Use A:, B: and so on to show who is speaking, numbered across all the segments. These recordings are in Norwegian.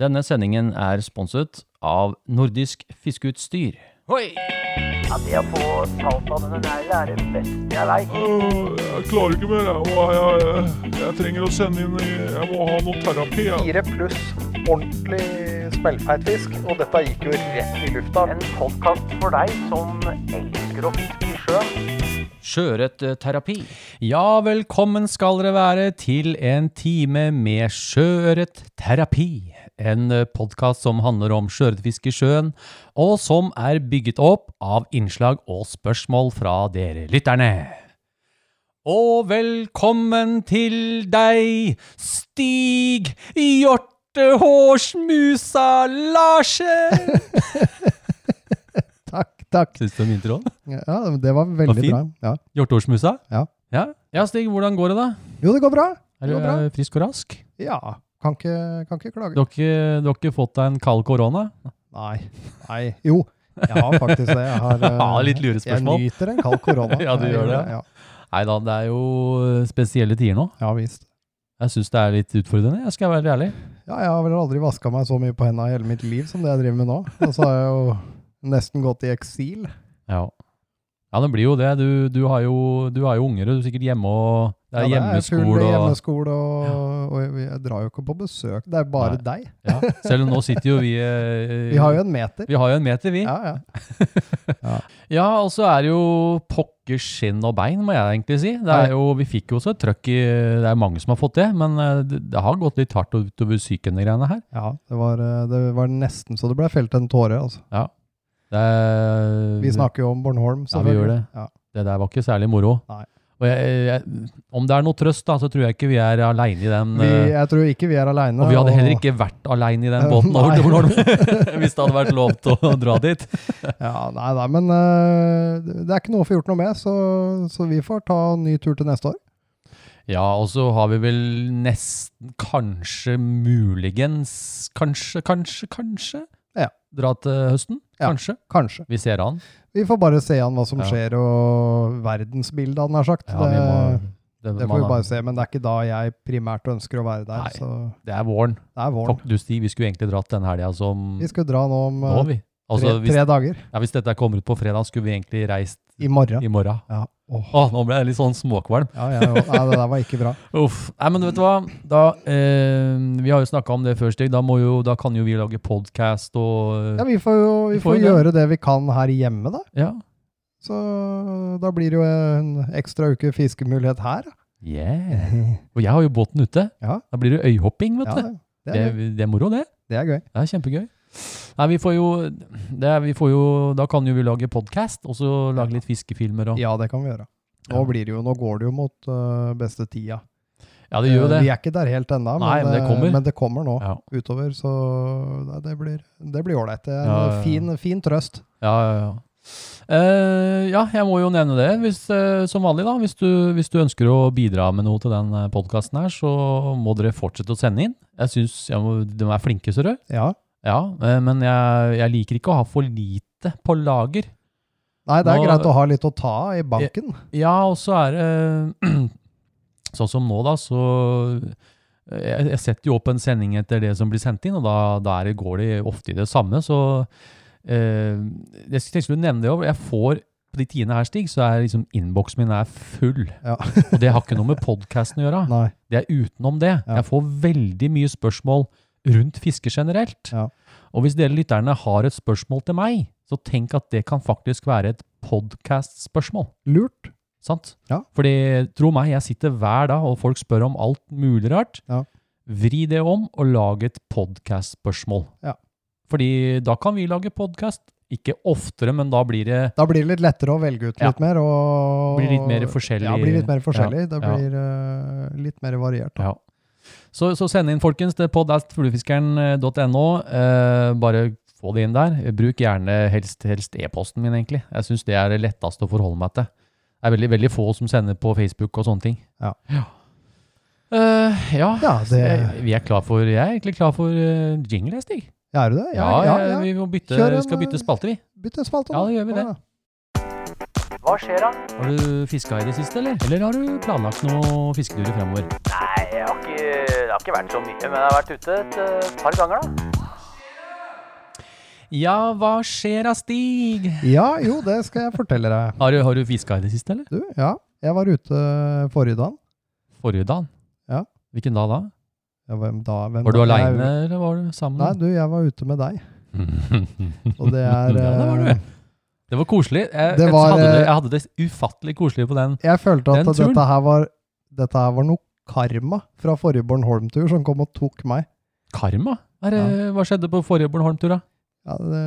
A: Denne sendingen er sponset av Nordisk Fiskeutstyr. Hoi!
B: Det å få talt av denne neglen er det beste jeg veit.
C: Øh, Jeg klarer ikke mer. Jeg, må, jeg, jeg, jeg trenger å sende inn Jeg må ha noe terapi. Jeg.
D: fire pluss ordentlig smellfeit fisk, og dette gikk jo rett i lufta.
B: En podkast for deg som elsker å fiske i sjøen.
A: Sjøørretterapi. Ja, velkommen skal dere være til en time med sjøørretterapi. En podkast som handler om sjøørretfiske i sjøen, og som er bygget opp av innslag og spørsmål fra dere lytterne. Og velkommen til deg, Stig Hjortehårsmusa Larsen!
E: Takk, takk.
A: Syns du om introen?
E: Ja, det var veldig
A: fin.
E: bra. Ja.
A: Hjortehårsmusa?
E: Ja.
A: ja. Ja, Stig, hvordan går det, da?
E: Jo, det går bra.
A: Er
E: Det
A: du
E: går bra.
A: eh, frisk og rask?
E: Ja, kan ikke, kan ikke
A: Du
E: klage.
A: har ikke, du har ikke fått deg en kald korona?
E: Nei, nei. Jo, jeg har faktisk det. Jeg har, eh,
A: Ja, litt lurespørsmål.
E: Jeg nyter en kald korona.
A: Ja, du
E: Jeg
A: gjør det.
E: Ja,
A: Nei da, det er jo eh, spesielle tider nå.
E: ja visst.
A: Jeg syns det er litt utfordrende, jeg skal være ærlig.
E: Ja, jeg har vel aldri vaska meg så mye på henda i hele mitt liv som det jeg driver med nå. Og så har jeg jo nesten gått i eksil.
A: Ja, ja det blir jo det. Du, du, har jo, du har jo unger, og du er sikkert hjemme og Det er
E: Ja,
A: hjemmeskole
E: full
A: og
E: hjemmeskole, og, og jeg, jeg drar jo ikke på besøk. Det er bare deg.
A: ja. Selv om nå sitter jo vi eh,
E: Vi har jo en meter.
A: vi har jo en meter, vi. Ja,
E: Ja, ja.
A: og så er det jo pokker skinn og bein, må jeg egentlig si. Det er jo, vi fikk jo også et trøkk i Det er mange som har fått det, men eh, det, det har gått litt hardt utover psyken, de greiene her.
E: ja det, var, eh, det var nesten så det ble felt en tåre, altså.
A: Det er,
E: Vi snakker jo om Bornholm,
A: Ja, vi gjør
E: selvfølgelig.
A: det.
E: Ja.
A: Det der var ikke særlig moro.
E: Nei.
A: Og jeg, jeg, om det er noe trøst, da, så tror jeg ikke vi er aleine i den.
E: Vi,
A: eh,
E: jeg tror ikke vi er aleine.
A: og vi hadde heller ikke vært aleine i den
E: Eh,
A: båten over
E: nei.
A: til Bornholm hvis det hadde vært lov til å dra dit.
E: Ja, nei, nei, men øh, det er ikke noe å få gjort noe med, så, så vi får ta en ny tur til neste år.
A: Ja, og så har vi vel nesten, kanskje, muligens Kanskje, kanskje, kanskje?
E: Ja.
A: Dra til høsten?
E: Ja.
A: Kanskje.
E: Kanskje.
A: Vi ser an.
E: Vi får bare se an hva som
A: Ja.
E: skjer, og verdensbildet, hadde nær sagt.
A: Ja, vi må,
E: det,
A: det,
E: det får
A: man-
E: vi bare se, men det er ikke da jeg primært ønsker å være der.
A: Nei.
E: Så
A: det er våren.
E: det er våren.
A: Fuck, Du, Stig, vi skulle egentlig dratt den helga som
E: Vi skulle dra nå om
A: Nå,
E: øh,
A: vi.
E: tre,
A: Altså, hvis,
E: tre dager.
A: ja, hvis dette kommer ut på fredag, skulle vi egentlig reist
E: I morgen.
A: i morgen.
E: Ja. Åh.
A: Å, nå ble jeg litt sånn småkvalm.
E: Ja, ja, ja. Nei, det der var ikke bra.
A: Uff. Nei, men vet du hva? Da, eh, vi har jo snakka om det før, Stig. Da, må jo, da kan jo vi lage podkast og
E: Ja, vi får jo vi
A: Vi får
E: får
A: jo
E: gjøre det vi kan her hjemme, da.
A: Ja.
E: Så da blir det jo en ekstra uke fiskemulighet her. da.
A: Yeah. Og jeg har jo båten ute.
E: Ja.
A: Da blir det øyhopping, vet
E: Ja,
A: du.
E: det,
A: Det,
E: er, gøy.
A: det er moro, det.
E: det er gøy.
A: Det er kjempegøy. Nei, vi får jo, det er, vi får jo Da kan jo vi lage podkast, og så lage litt fiskefilmer og Ja,
E: Ja, det kan vi gjøre. Nå,
A: Ja.
E: blir det jo, nå går det jo mot øh, beste tida.
A: det gjør jo
E: Eh,
A: det.
E: Vi er ikke der helt ennå,
A: Nei,
E: men,
A: men det
E: eh,
A: kommer.
E: men det kommer nå
A: Ja.
E: utover. Så nei, det blir det blir ålreit. Det er
A: Ja,
E: en
A: ja, ja.
E: fin, fin trøst.
A: Ja, ja, ja. Eh, ja, jeg må jo nevne det hvis, eh, som vanlig. da, hvis du, hvis du ønsker å bidra med noe til den podkasten her, så må dere fortsette å sende inn. Jeg synes jeg må, De er flinke, Sørø.
E: Ja.
A: Ja, eh, men jeg, jeg liker ikke å ha for lite på lager.
E: Nei, det er
A: Nå-
E: greit å ha litt å ta av i banken.
A: Ja, og så er det Sånn som nå, da, så jeg, jeg setter jo opp en sending etter det som blir sendt inn, og da, da er det, går det ofte i det samme. Så eh, jeg tenkte jeg skulle nevne det òg. Jeg får på de tidene her, Stig, så er liksom innboksen min er full.
E: Ja.
A: og det har ikke noe med podkasten å gjøre.
E: Nei.
A: Det er utenom det.
E: Ja.
A: Jeg får veldig mye spørsmål rundt fiske generelt.
E: Ja.
A: Og hvis dere lytterne har et spørsmål til meg, så tenk at det kan faktisk være et podcast-spørsmål.
E: Lurt.
A: Sant?
E: Ja.
A: Fordi, tro meg, jeg sitter hver dag, og folk spør om alt mulig rart.
E: Ja.
A: Vri det om, og lag et podcast-spørsmål.
E: Ja.
A: Fordi da kan vi lage podcast. Ikke oftere, men da blir det
E: Da blir det litt lettere å velge ut
A: Ja.
E: litt mer. Og,
A: Blir litt mer forskjellig.
E: Ja, blir litt mer forskjellig.
A: Ja,
E: Det
A: ja.
E: blir eh, litt mer variert.
A: Ja. Så, så send inn, folkens, til podatfuglefiskeren.no. Eh, bare få det inn der. Bruk gjerne helst helst e-posten min, egentlig. Jeg syns det er det letteste å forholde meg til. Det er veldig, veldig få som sender på Facebook og sånne ting.
E: Ja.
A: Ja, Eh, ja.
E: Ja, det
A: Jeg, vi er klar for, jeg er egentlig klar for eh, jingle, jeg, Stig.
E: Er du det?
A: Ja,
E: ja,
A: jeg-
E: ja.
A: vi må bytte,
E: Kjør en,
A: skal bytte spalte, vi.
E: Bytt en spalte.
A: Ja,
E: da.
A: da gjør vi det.
B: Hva skjer da?
A: Har du fiska i det siste, eller? Eller har du planlagt noen fisketurer fremover?
B: Nei, jeg har ikke, det har ikke vært så mye, men jeg har vært ute et eh, par ganger da.
A: Ja, hva skjer da, Stig?
E: Ja, jo, det skal jeg fortelle deg.
A: Har, du- har du fiska i det siste, eller?
E: Du, ja. Jeg var ute eh, forrige dagen.
A: Forrige dag?
E: Ja.
A: Hvilken dag da?
E: Ja, hvem da? Hvem
A: Var du
E: da?
A: aleine,
E: Jeg-
A: eller var du sammen?
E: Nei, du, jeg var ute med deg. Og det
A: ja,
E: er
A: det var
E: eh,
A: du. Det var koselig. Jeg,
E: Det var,
A: jeg, hadde det,
E: eh,
A: jeg hadde det ufattelig koselig på den.
E: Jeg følte at
A: Den turen.
E: dette her var Dette her var noe karma fra forrige Bornholm-tur som kom og tok meg.
A: Karma? Hva Er, det- Hva skjedde på forrige Bornholm-tur, da?
E: Ja, det,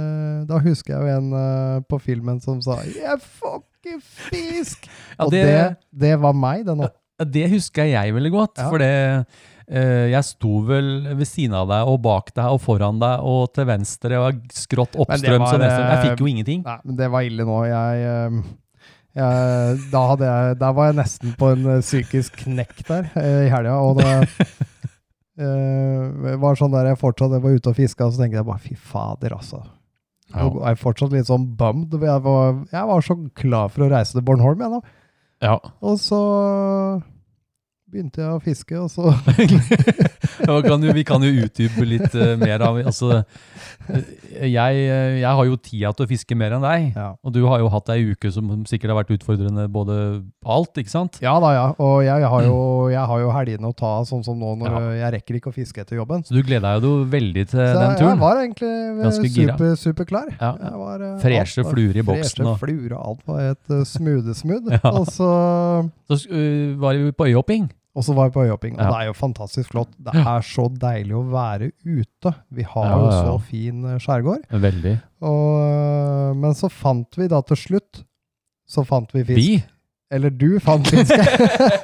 E: da husker jeg jo en eh, på filmen som sa 'Jeg får ikke fisk!'
A: Ja,
E: og det, det, var meg, det nå.
A: Det husker jeg veldig godt,
E: Ja.
A: for det, eh, jeg sto vel ved siden av deg og bak deg og foran deg og til venstre og skrått
E: Men det
A: oppstrøms
E: var,
A: og nedstrøms. Jeg
E: eh,
A: fikk jo ingenting.
E: Nei, men det var ille nå. Jeg, eh, jeg, da, hadde jeg, da var jeg nesten på en eh, psykisk knekk der eh, i helga. Og det eh, var sånn der jeg fortsatt jeg var ute og fiska, så tenkte jeg bare fy fader, altså.
A: Ja.
E: Jeg er fortsatt litt sånn bummed. for Jeg var, jeg var så klar for å reise til Bornholm, jeg nå.
A: Ja.
E: Og så begynte jeg å fiske, og så
A: Ja, kan jo, vi kan jo utdype litt eh, mer av altså, eh, jeg, eh, jeg har jo tida til å fiske mer enn deg.
E: Ja.
A: Og du har jo hatt ei uke som sikkert har vært utfordrende både alt, ikke sant?
E: Ja da, ja. Og jeg, har jo, jeg har jo helgene å ta, sånn som nå når
A: Ja.
E: jeg rekker ikke å fiske etter jobben.
A: Så du gleda deg jo veldig til
E: Så
A: eh, den
E: jeg, jeg
A: turen.
E: var egentlig eh,
A: Ganske gira.
E: super, superklar.
A: Ja.
E: Jeg var, eh,
A: Freshe
E: alt var-
A: fluer i boksen
E: Freshe
A: og-
E: fluer og alt var et uh, smoothesmooth.
A: Ja.
E: og, så,
A: Så eh, var vi på øyhopping.
E: og så var jeg på øyhopping, og
A: Ja.
E: det er jo fantastisk flott. Det er så deilig å være ute. Vi har
A: Ja,
E: jo
A: ja,
E: så
A: ja.
E: fin eh, skjærgård.
A: Veldig.
E: Og, eh, men så fant vi da til slutt så fant vi fisk.
A: Vi?
E: Eller du fant fisk.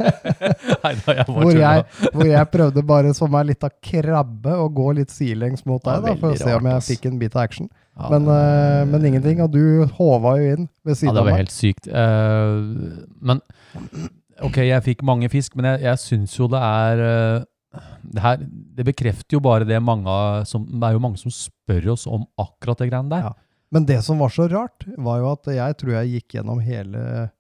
A: Nei da, jeg var
E: Hvor
A: tulla.
E: jeg, hvor jeg prøvde bare som ei lita krabbe å gå litt sidelengs mot
A: Ja,
E: deg, da, for å
A: veldig
E: se om
A: rart,
E: jeg
A: ass.
E: fikk en bit av action.
A: Ja,
E: Men,
A: det-
E: eh, men ingenting. Og du håva jo inn ved
A: Ja,
E: siden
A: det
E: av
A: var
E: meg.
A: helt sykt. Eh, men ok, jeg fikk mange fisk, men jeg, jeg syns jo det er eh, det, her, det bekrefter jo bare det mange av- som, Det er jo mange som spør oss om akkurat det greiene der.
E: Ja. Men det som var så rart, var jo at jeg tror jeg gikk gjennom hele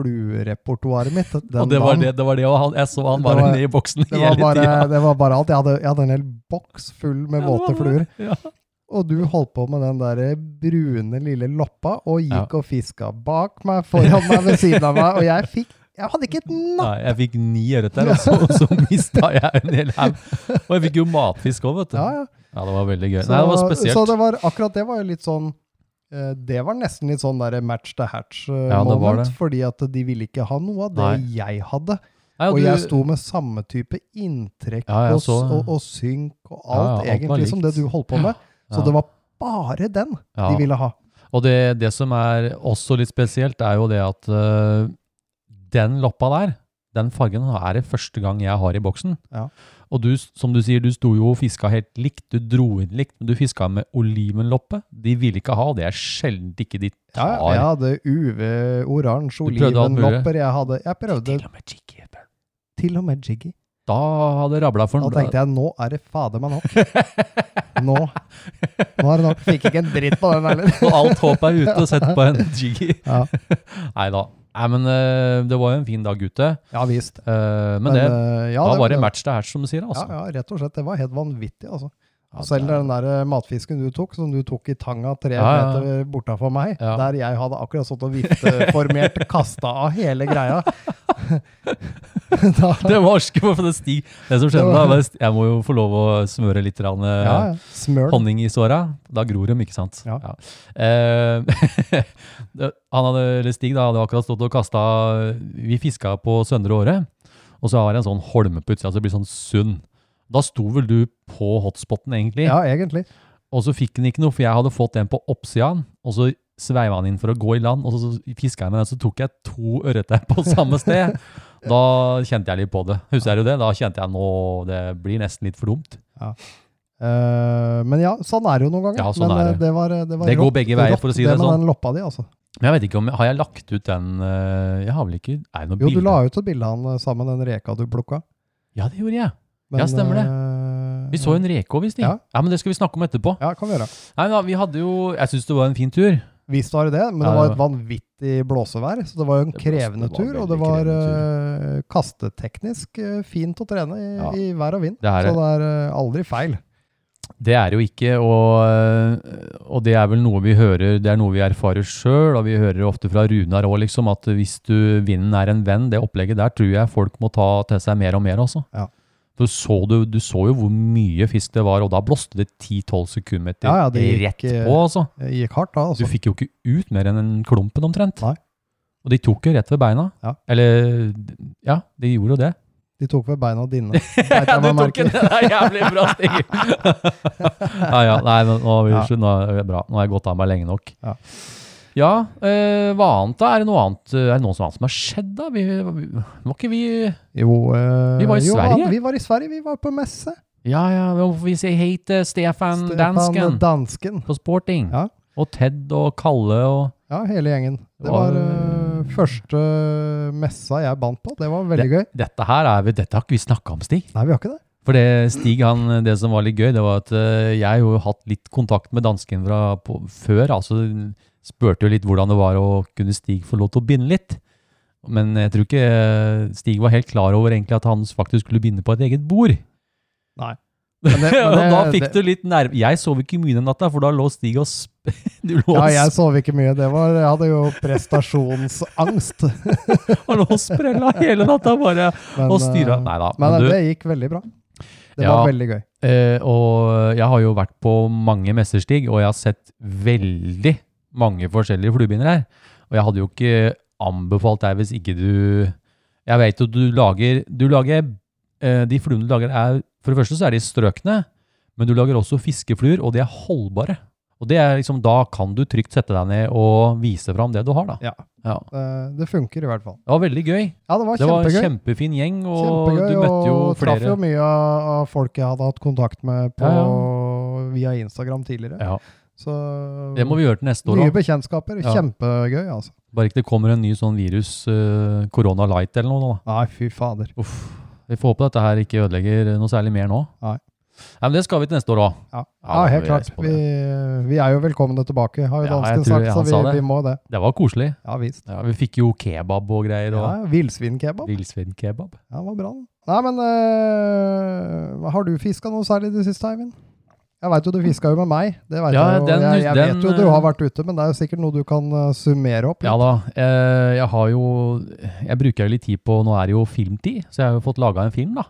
E: fluerepertoaret mitt. den
A: og det var
E: dagen.
A: det, det var det, og han, jeg så han
E: Det
A: var,
E: var-
A: nede i boksen
E: Det var,
A: hele
E: bare,
A: tida.
E: det var bare alt. Jeg hadde, jeg hadde en hel boks full med
A: Ja,
E: våte
A: det var
E: fluer.
A: det. Ja.
E: Og du holdt på med den der brune lille loppa og gikk og fiska bak meg, foran meg, ved siden av meg. Og jeg fikk Jeg hadde ikke et napp!
A: Nei, jeg fikk ni ørreter, og så, og så mista jeg en hel haug. Og jeg fikk jo matfisk òg, vet du.
E: Ja, ja.
A: Ja, det var veldig gøy. Nei, det var spesielt.
E: Så det var, akkurat det var jo litt sånn eh, Det var nesten litt sånn der match to
A: Ja, det var
E: hatch-moment.
A: det.
E: fordi at de ville ikke ha noe av det
A: Nei.
E: jeg hadde.
A: Nei,
E: Og
A: du-
E: jeg sto med samme type inntrekk
A: Ja, jeg
E: og, s-
A: så det.
E: og, og synk og
A: Ja,
E: alt,
A: ja, alt var
E: egentlig, som det
A: likt.
E: du holdt på med. Så
A: Ja.
E: det var bare den
A: Ja.
E: de ville ha.
A: Og det, det som er også litt spesielt, er jo det at øh, den loppa der, den fargen er det første gang jeg har i boksen.
E: Ja.
A: Og du, som du sier, du sto jo og fiska helt likt, du dro inn likt, men du fiska med olivenloppe. De ville ikke ha, og det er sjelden ikke de
E: Ja,
A: tar.
E: ja, jeg hadde UV, oransje,
A: Du prøvde alt mulig.
E: olivenlopper. Jeg, hadde, jeg prøvde
A: Til og med Jiggy Hebel.
E: til og med jiggy.
A: Da hadde det rabla for
E: Da
A: den.
E: tenkte jeg nå er det fader meg nok. Nå, nå er det nok. Fikk ikke en dritt på den heller.
A: Og alt håp er ute, og sett på en Jiggy.
E: Ja.
A: Nei da. Nei, men øh, det var jo en fin dag ute.
E: Ja visst.
A: Øh, men, det,
E: eh, ja,
A: da
E: det-
A: var det match det her, som du sier. altså.
E: Ja, ja, rett og slett. Det var helt vanvittig, altså.
A: Ja,
E: Selv
A: det er-
E: den der eh, matfisken du tok, som du tok i tanga tre
A: Ja, ja, ja.
E: meter bortafor meg,
A: Ja.
E: der jeg hadde akkurat stått og vifteformert, kasta av hele greia. da,
A: Det var ikke for det stig. Det som skjedde da, var at jeg må jo få lov å smøre litt grann, eh,
E: ja, ja. Smøl.
A: honning i såra. Da gror de, ikke sant?
E: Ja.
A: Eh, det- han hadde, eller Stig da, hadde akkurat stått og kasta Vi fiska på Søndre Åre, og så har jeg en sånn holme på utsida, så det blir sånn sund. Da sto vel du på hotspoten, egentlig,
E: Ja, egentlig.
A: og så fikk han ikke noe, for jeg hadde fått en på oppsida, og så sveiva han inn for å gå i land, og så fiska jeg med den, så tok jeg to ørreter på samme sted. Da kjente jeg litt på det. Husker du det? Da kjente jeg nå det blir nesten litt for dumt.
E: Eh, men ja, sånn er det jo noen ganger.
A: Ja, sånn
E: men
A: er
E: eh,
A: det.
E: det, var, eh, det, var
A: Det går
E: rått-
A: begge veier,
E: rått,
A: for å si det
E: med
A: sånn.
E: den loppa di, altså.
A: Men jeg vet ikke om Har jeg lagt ut den eh, Jeg har vel ikke Er det noe
E: Jo,
A: bilde?
E: du la ut et bilde av han eh, sammen med den reka du plukka.
A: Ja, det gjorde jeg. Ja, stemmer det.
E: det.
A: Vi så jo en reke òg, visst. Ja.
E: Ja.
A: ja, men det skal vi snakke om etterpå.
E: Ja, eh, kan vi gjøre.
A: Nei, da, vi hadde jo Jeg syns det var en fin tur.
E: Visst var det det, men
A: Ja,
E: det
A: det
E: var et vanvittig blåsevær. Så det var jo en
A: Det blåste-
E: krevende
A: det var en
E: tur, og det
A: veldig
E: var
A: krevende
E: eh, kasteteknisk eh, fint å trene i,
A: Ja.
E: i vær og vind.
A: Det er det.
E: så det er eh, aldri feil.
A: Det er det jo ikke, og, og det er vel noe vi hører, det er noe vi erfarer sjøl, og vi hører ofte fra Runar òg, liksom, at hvis du vinden er en venn, det opplegget der tror jeg folk må ta til seg mer og mer, altså.
E: Ja.
A: For så du, du så jo hvor mye fisk det var, og da blåste det 10-12 sekundmeter
E: Ja, ja, det gikk,
A: rett
E: eh,
A: på, altså.
E: Det gikk hardt da.
A: Du
E: Altså.
A: fikk jo ikke ut mer enn en klumpen omtrent.
E: Nei.
A: Og de tok jo rett ved beina.
E: Ja.
A: Eller Ja, de gjorde jo det.
E: De tok ved beina dine. Beit jeg meg merke i.
A: der jævlig bra, Stig. ja, ja, nei, men nå,
E: Ja.
A: unnskyld, nå er det bra. Nå har jeg gått av meg lenge nok.
E: Ja.
A: Ja, eh, hva annet da? Er det noe annet, er det noe som annet som har skjedd da? Vi, vi, må ikke vi...
E: Jo, eh,
A: Vi var i
E: jo,
A: Sverige.
E: da, Vi var i Sverige, vi var på messe.
A: Ja, ja, vi må vi si hei til Stefan,
E: Stefan
A: Dansken
E: Dansken.
A: på Sporting.
E: Ja.
A: Og Ted og Kalle og...
E: Ja, hele gjengen. Det
A: Det
E: var
A: var-
E: eh, første messa jeg bandt på. Det var veldig gøy.
A: Dette her er vi, dette har ikke vi snakket om, Stig.
E: Nei, vi har ikke det.
A: For det, Stig, han, det som var litt gøy, det var at eh, jeg har jo hatt litt kontakt med dansken fra på, før. altså Spurte jo litt hvordan det var å kunne Stig få lov til å binde litt. Men jeg tror ikke eh, Stig var helt klar over egentlig at han faktisk skulle binde på et eget bord.
E: Men det, men
A: og da
E: det-
A: fikk du litt nerv... Jeg sov ikke mye den natta, for da lå Stig og sp... Du lå,
E: Ja,
A: og
E: jeg sov ikke mye. Det var, jeg hadde jo prestasjonsangst.
A: sp- han lå og sprella hele natta bare
E: Men,
A: og styra.
E: eh,
A: Nei da.
E: Men
A: men du-
E: det gikk veldig bra. Det
A: Ja.
E: var veldig gøy.
A: Eh, og jeg har jo vært på mange messerstig, og jeg har sett veldig mange forskjellige fluebinder her. Og jeg hadde jo ikke anbefalt deg hvis ikke du Jeg vet jo du lager Du lager eh, De fluene du lager, er For det første så er de strøkne, men du lager også fiskefluer, og de er holdbare. Og det er liksom, Da kan du trygt sette deg ned og vise fram det du har, da.
E: Ja.
A: Ja.
E: Eh, Det funker i hvert fall.
A: Det var veldig gøy.
E: Ja, det var
A: Det var en
E: kjempegøy.
A: kjempefin gjeng, og
E: Kjempegøy,
A: du møtte jo
E: og traff
A: flere.
E: jo mye av av folk jeg hadde hatt kontakt med på, via Instagram tidligere.
A: Ja.
E: Så eh,
A: Det må vi gjøre til neste år
E: nye
A: òg.
E: bekjentskaper.
A: Ja.
E: Kjempegøy, altså.
A: Bare ikke det kommer en ny sånn virus, eh, korona light eller noe. da.
E: Nei, fy fader.
A: Uff. Vi får håpe dette her ikke ødelegger noe særlig mer nå.
E: Nei.
A: Nei, men det skal vi til neste år òg.
E: Ja,
A: Ja,
E: ja
A: da må
E: helt
A: vi
E: klart.
A: reise på
E: Vi, vi er jo velkomne tilbake, har jo
A: Ja, jeg
E: dansken
A: tror
E: sagt,
A: han
E: så
A: sa
E: vi,
A: det.
E: vi må det.
A: Det var koselig.
E: Ja visst.
A: Ja, vi fikk jo kebab og greier.
E: Ja,
A: og
E: Villsvinkebab.
A: Villsvinkebab.
E: Ja, det var bra. den. Nei, men øh, har du fiska noe særlig i det siste, Eivind? Jeg veit jo du fiska jo med meg. Det vet
A: Ja,
E: jeg, jo.
A: den-
E: jeg, jeg
A: den,
E: vet jo du har
A: øh,
E: vært ute, men det er jo sikkert noe du kan øh, summere opp.
A: Ja da. Eh, jeg har jo Jeg bruker jo litt tid på Nå er det jo filmtid, så jeg har jo fått laga en film, da.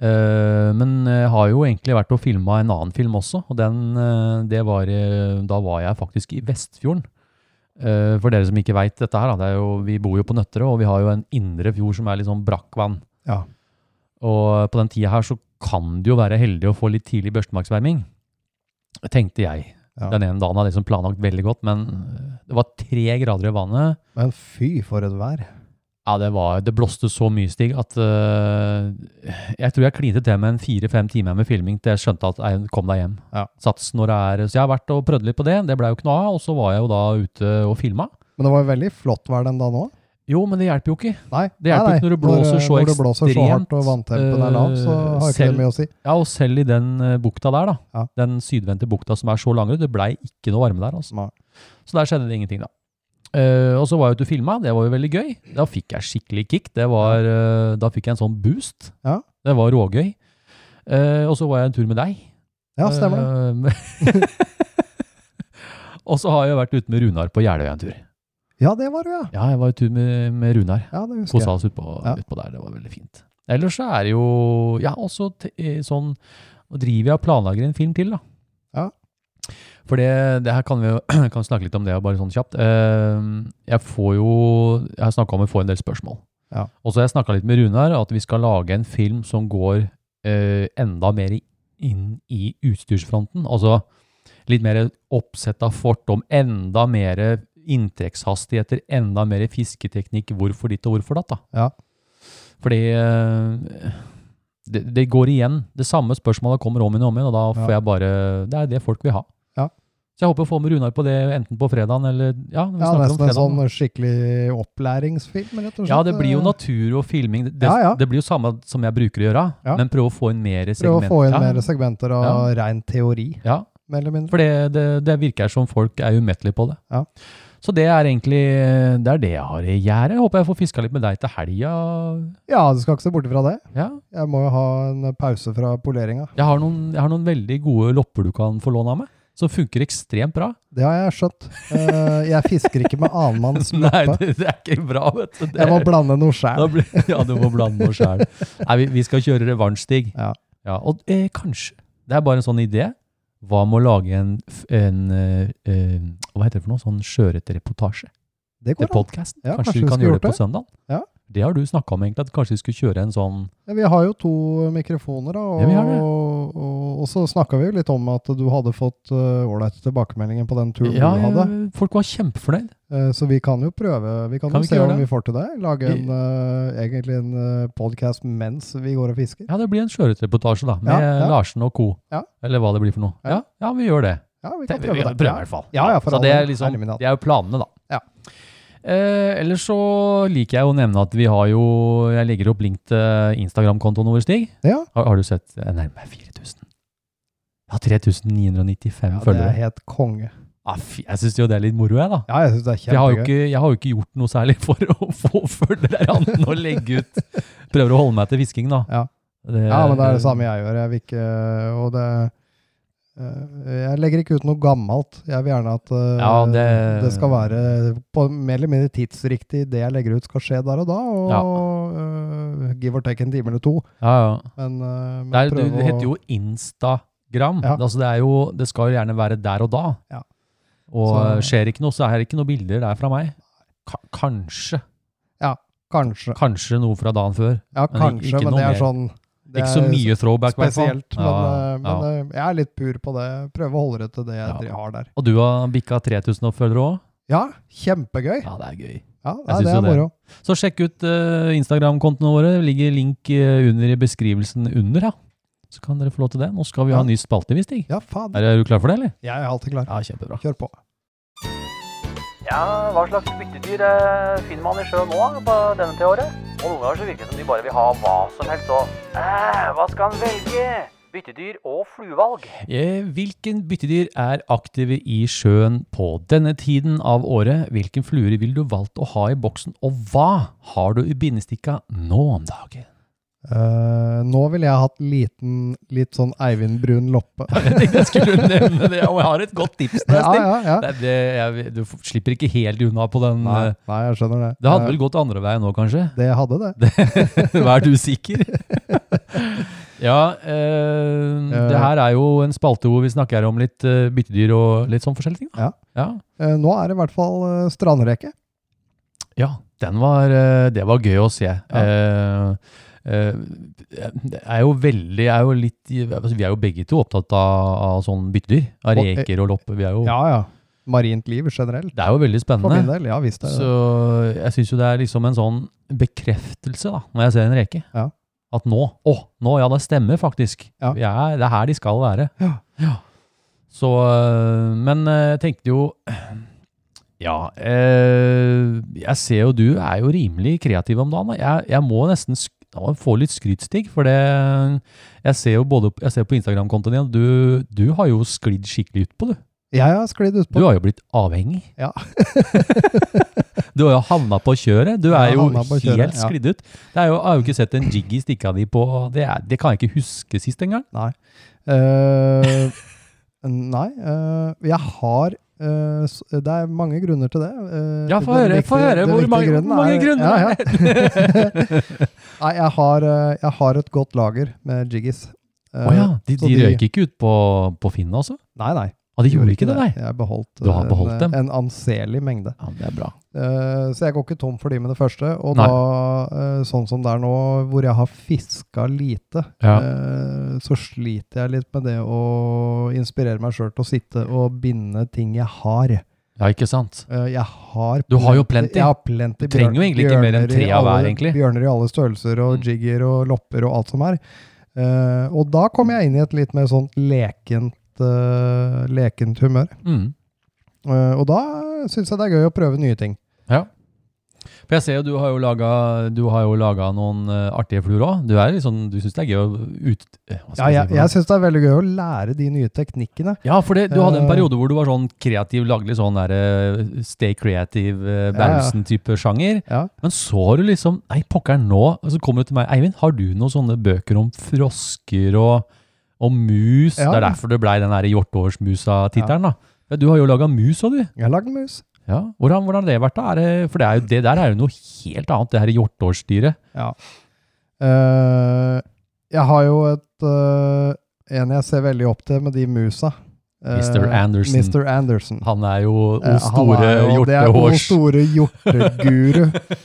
A: Eh, men jeg har jo egentlig vært og filma en annen film også, og den, eh, det var eh, Da var jeg faktisk i Vestfjorden. Eh, for dere som ikke veit dette her, da, det er jo, vi bor jo på Nøtterøy, og vi har jo en indre fjord som er litt sånn brakkvann.
E: Ja.
A: Og på den tida her så kan du jo være heldig å få litt tidlig børstemarksverming, tenkte jeg.
E: Ja.
A: Den ene dagen hadde jeg liksom planlagt veldig godt, men eh, det var tre grader i vannet.
E: Men fy, for et vær.
A: Ja, det, var, det blåste så mye, Stig, at øh, jeg tror jeg klinte til med en fire-fem timer med filming til jeg skjønte at jeg kom deg hjem.
E: Ja.
A: Sats når det er, så jeg har vært og prøvd litt på det, det ble jo ikke noe av, og så var jeg jo da ute og filma.
E: Men det var jo veldig flott vær den dagen òg.
A: Jo, men det hjelper jo ikke.
E: Nei,
A: Det hjelper
E: nei,
A: ikke når det
E: nei.
A: blåser så
E: når det blåser så hardt og
A: ekstremt,
E: vanntempen er lav, så
A: øh,
E: har ikke
A: selv-
E: det mye å si.
A: Ja, og selv i den øh, bukta der, da,
E: Ja.
A: den sydvendte bukta som er så langere, det blei ikke noe varme der, altså.
E: Nei.
A: Så der skjedde det ingenting, da. Eh, og så var jeg ute og filma, det var jo veldig gøy. Da fikk jeg skikkelig kick. Det var, eh, da fikk jeg en sånn boost.
E: Ja.
A: Det var rågøy. Eh, og så var jeg en tur med deg.
E: Ja, stemmer det.
A: Eh, Ehm, og så har jeg vært ute med Runar på Jeløya en tur.
E: Ja, det var du, ja.
A: Ja, jeg var en tur med, med Runar.
E: Ja, det husker
A: Kosa
E: jeg.
A: oss utpå
E: Ja.
A: ut på der. Det var veldig fint. Ellers så er det jo Ja, også t eh, sånn Og driver jeg og planlager en film til, da.
E: Ja.
A: For det, det her kan vi jo kan vi snakke litt om det, bare sånn kjapt. Eh, Jeg får jo Jeg har snakka om å få en del spørsmål.
E: Ja.
A: Og så har jeg snakka litt med Runar at vi skal lage en film som går eh, enda mer i- inn i utstyrsfronten. Altså litt mer oppsett av fortom, enda mer inntrekkshastigheter, enda mer fisketeknikk, hvorfor ditt og hvorfor datt. da.
E: Ja.
A: Fordi eh, det, det går igjen. Det samme spørsmålet kommer om igjen og om igjen, og da får
E: Ja.
A: jeg bare Det er det folk vil ha.
E: Ja.
A: Så jeg håper å få med Runar på det enten på fredagen eller Ja, når vi
E: Ja,
A: snakker om
E: Nesten en
A: fredagen.
E: sånn skikkelig opplæringsfilm, rett og slett. Eh,
A: Ja, det blir jo natur og filming. Det, det,
E: Ja, ja.
A: det blir jo samme som jeg bruker å gjøre,
E: Ja.
A: men prøve å få inn mer segment.
E: Prøv å få inn
A: Ja,
E: mer segmenter av rein teori.
A: Ja,
E: mer eller mindre.
A: For det, det, det virker som folk er umettelige på det.
E: Ja.
A: Så det er egentlig det, er det jeg har i gjerdet. Håper jeg får fiska litt med deg til helga.
E: Ja, du skal ikke se bort ifra det.
A: Ja.
E: Jeg må jo ha en pause fra poleringa.
A: Jeg, har noen, jeg har noen veldig gode lopper du kan få låne av meg, som funker ekstremt bra.
E: Det har jeg skjønt. Eh, jeg fisker ikke med annenmanns
A: Nei,
E: loppe.
A: det, det er ikke bra, vet du. Det,
E: Jeg må blande noe
A: da
E: sjæl.
A: blir, ja, du må blande noe sjæl. Nei, vi, vi skal kjøre revansjstig.
E: Ja.
A: Ja, og eh, kanskje Det er bare en sånn idé. Hva med å lage en, f- en eh, eh, Hva heter det for noe? Sånn sjøørretreportasje?
E: Det
A: Det
E: går
A: er
E: an.
A: podcast. kanskje,
E: Ja, kanskje
A: vi kan
E: vi skulle
A: gjøre det
E: gjort
A: på søndag?
E: Ja.
A: Det har du snakka om, egentlig. At kanskje vi skulle kjøre en sånn
E: Ja, vi har jo to mikrofoner, da, og,
A: Ja, vi har det.
E: og, og, og så snakka vi jo litt om at du hadde fått eh, ålreite tilbakemeldinger på den turen
A: Ja,
E: du hadde.
A: eh, folk var kjempefornøyd.
E: Eh, Så vi kan jo prøve. Vi kan,
A: Kan vi ikke
E: jo se
A: gjøre
E: om
A: det?
E: vi får til det. Lage en, eh, egentlig en podkast mens vi går og fisker.
A: Ja, det blir en sjøørretreportasje, da. Med
E: Ja, ja.
A: Larsen og co.
E: Ja.
A: Eller hva det blir for noe. Ja,
E: Ja.
A: ja vi gjør det.
E: Ja,
A: Vi
E: vi kan prøve
A: vi
E: det.
A: prøver i hvert fall.
E: Ja, ja, for
A: så
E: all
A: det er,
E: del.
A: liksom,
E: Herre min hatt.
A: det er jo planene, da.
E: Ja.
A: Eh, ellers så liker jeg å nevne at vi har jo Jeg legger opp link til Instagram-kontoen vår, Stig.
E: Ja.
A: Har, har du sett eh, nærmere 4000? Ja, 3995
E: Ja, det
A: følgere.
E: er helt konge.
A: Ah, fy, jeg syns jo det er litt moro, jeg, da.
E: Ja, jeg syns det er
A: Jeg har, jo
E: kjempegøy.
A: ikke, jeg har jo ikke gjort noe særlig for å få følgere annet enn å legge ut. Prøver å holde meg til fisking, da.
E: Ja.
A: Det-
E: Ja, men det
A: eh,
E: er det samme jeg gjør. Jeg vil ikke Og det eh, Jeg legger ikke ut noe gammelt. Jeg vil gjerne at eh,
A: Ja, det-
E: skal være på mer eller mindre tidsriktig. Det jeg legger ut, skal skje der og da. Og eh, give or take en time eller to.
A: Ja, ja.
E: Men, eh, men
A: Det, er,
E: prøve
A: det
E: å-
A: heter jo Instagram.
E: Ja.
A: Altså, det, er jo, det skal jo gjerne være der og da.
E: Ja.
A: Og
E: Så-
A: eh, skjer ikke noe, så er det ikke noen bilder der fra meg. Ka kanskje.
E: Kanskje.
A: Kanskje noe fra dagen før.
E: Ja,
A: Men
E: kanskje,
A: ikke
E: men
A: noe
E: det er
A: mer.
E: sånn det
A: ikke så
E: er
A: mye throwback, i hvert fall.
E: Spesielt, men, eh, men
A: ja.
E: eh, jeg er litt pur på det. Prøve å holde det til det jeg
A: Ja.
E: dri- har der.
A: Og du har bikka 3000 oppfølgere òg?
E: Ja, kjempegøy!
A: Ja, det er gøy.
E: Ja, nei,
A: synes
E: det
A: jo
E: er
A: det.
E: moro.
A: Så sjekk ut eh, Instagram-kontoene våre. Det ligger link eh, under i beskrivelsen under, ja. Så kan dere få lov til det. Nå skal vi ha
E: Ja.
A: ny spalte, vi, Stig.
E: Ja, faen.
A: Er, er du klar for det, eller?
E: Jeg er alltid klar.
A: Ja, kjempebra.
E: Kjør på.
B: Ja, hva slags byttedyr eh, finner man i sjøen nå på denne tida av året? Og noen ganger så virker det som de bare vil ha hva som helst og eh, Hva skal en velge? Byttedyr og fluevalg.
A: Eh, Hvilken byttedyr er aktive i sjøen på denne tiden av året? Hvilken fluer ville du valgt å ha i boksen, og hva har du i bindestikka nå om dagen?
E: Eh, nå ville jeg hatt liten, litt sånn Eivind Brun loppe.
A: Jeg tenkte jeg skulle nevne det, og jeg har et godt tips til deg,
E: ja,
A: Stig.
E: ja, ja.
A: Nei, det, jeg, du f- slipper ikke helt unna på den.
E: Nei,
A: eh,
E: nei, jeg skjønner det.
A: Det hadde
E: Eh,
A: vel gått andre veien nå, kanskje?
E: det hadde det.
A: Vær du sikker? ja, eh, det her er jo en spalte hvor vi snakker om litt eh, byttedyr og litt sånn forskjellige ting. da. ja.
E: Eh, nå er det i hvert fall eh, strandreke.
A: Ja, den var, eh, det var gøy å se. Eh, eh, det er jo veldig jeg er jo litt, altså, Vi er jo begge to opptatt av, av sånn byttedyr. Av
E: Og, eh,
A: reker og lopper. Vi er jo,
E: Ja, ja. Marint liv generelt.
A: Det er jo veldig
E: For min
A: Oh. spennende.
E: del, ja visst er det
A: Så
E: det.
A: jeg syns jo det er liksom en sånn bekreftelse da, når jeg ser en reke.
E: Ja.
A: At nå Å, nå, ja, det stemmer faktisk.
E: Ja.
A: Vi er, det er her de skal være.
E: Ja.
A: Så øh, Men øh, jeg tenkte jo Ja. øh, jeg ser jo du er jo rimelig kreativ om dagen. da. Jeg, jeg må nesten sk jeg må få litt skrytstig, for det øh, Jeg ser jo både jeg ser på Instagram-kontoen din at du, du har jo sklidd skikkelig ut på, du.
E: Jeg har sklidd
A: Du
E: utpå.
A: har jo blitt avhengig.
E: Ja.
A: du har jo havna på kjøret. Du
E: Jeg
A: er
E: har
A: jo
E: havna på
A: helt
E: kjøret, ja.
A: sklidd ut. Det er jo, jeg har jo ikke sett en jiggy stikka di på det, er, det kan jeg ikke huske sist engang.
E: Eh, nei, eh, jeg har eh, s- Det er mange grunner til det. Eh,
A: Ja, få
E: den
A: høre, få
E: viktige-
A: høre
E: den
A: hvor
E: viktige
A: mange,
E: grunnen
A: hvor mange
E: er-
A: grunner
E: ja, ja.
A: det er.
E: Nei, jeg har, eh, jeg har et godt lager med jiggis. Eh,
A: Å ja, de,
E: så
A: de røyk ikke ut på, på Finn, altså?
E: Nei, nei.
A: Ah, de gjorde ikke det, nei?
E: Jeg beholdt,
A: Du har
E: eh,
A: beholdt
E: en,
A: dem?
E: en anselig mengde.
A: Ja, det er bra.
E: Eh, så jeg går ikke tom for de med det første. Og
A: Nei.
E: da, eh, sånn som det er nå, hvor jeg har fiska lite,
A: Ja.
E: eh, så sliter jeg litt med det å inspirere meg sjøl til å sitte og binde ting jeg har.
A: Ja, ikke sant?
E: Eh, Jeg har
A: Du har jo plenty.
E: Jeg har
A: Du
E: plenty.
A: trenger jo egentlig ikke mer enn
E: bjørner i
A: tre av hver,
E: alle-
A: egentlig. Mm.
E: Bjørner i alle størrelser, og jigger og lopper og alt som er. Eh, og da kom jeg inn i et litt mer sånt lekent, eh, lekent humør.
A: Mm.
E: Eh, og da syns jeg det er gøy å prøve nye ting.
A: Ja. For jeg ser jo du har jo laga, du har jo laget noen eh, artige fluer òg. Du, er litt sånn- du syns det er gøy å ut... eh, Hva
E: Ja,
A: skal jeg si
E: jeg
A: for noe?
E: jeg syns det er veldig gøy å lære de nye teknikkene.
A: Ja, for det, du hadde en
E: Eh,
A: periode hvor du var sånn kreativ, lagde litt sånn der eh, stay creative, eh, Berlsen-type sjanger.
E: Ja.
A: Men så har du liksom Nei, pokker nå! Og så kommer du til meg. Eivind, har du noen sånne bøker om frosker og, og mus?
E: Ja.
A: Det er derfor det blei den der Hjortårsmusa-tittelen, da. Ja, du har jo laga mus òg, du.
E: Jeg har lagd mus.
A: Ja. Hvordan, hvordan har det vært, da? Er det, for det, er jo, det der er jo noe helt annet, det her hjortårsdyret.
E: Ja. Eh, jeg har jo et eh, En jeg ser veldig opp til med de musa. Eh,
A: Mr. Anderson.
E: Mr. Anderson.
A: Han er jo
E: Eh,
A: O store
E: han er jo- Det er O
A: hjortehårs.
E: store hjorteguru.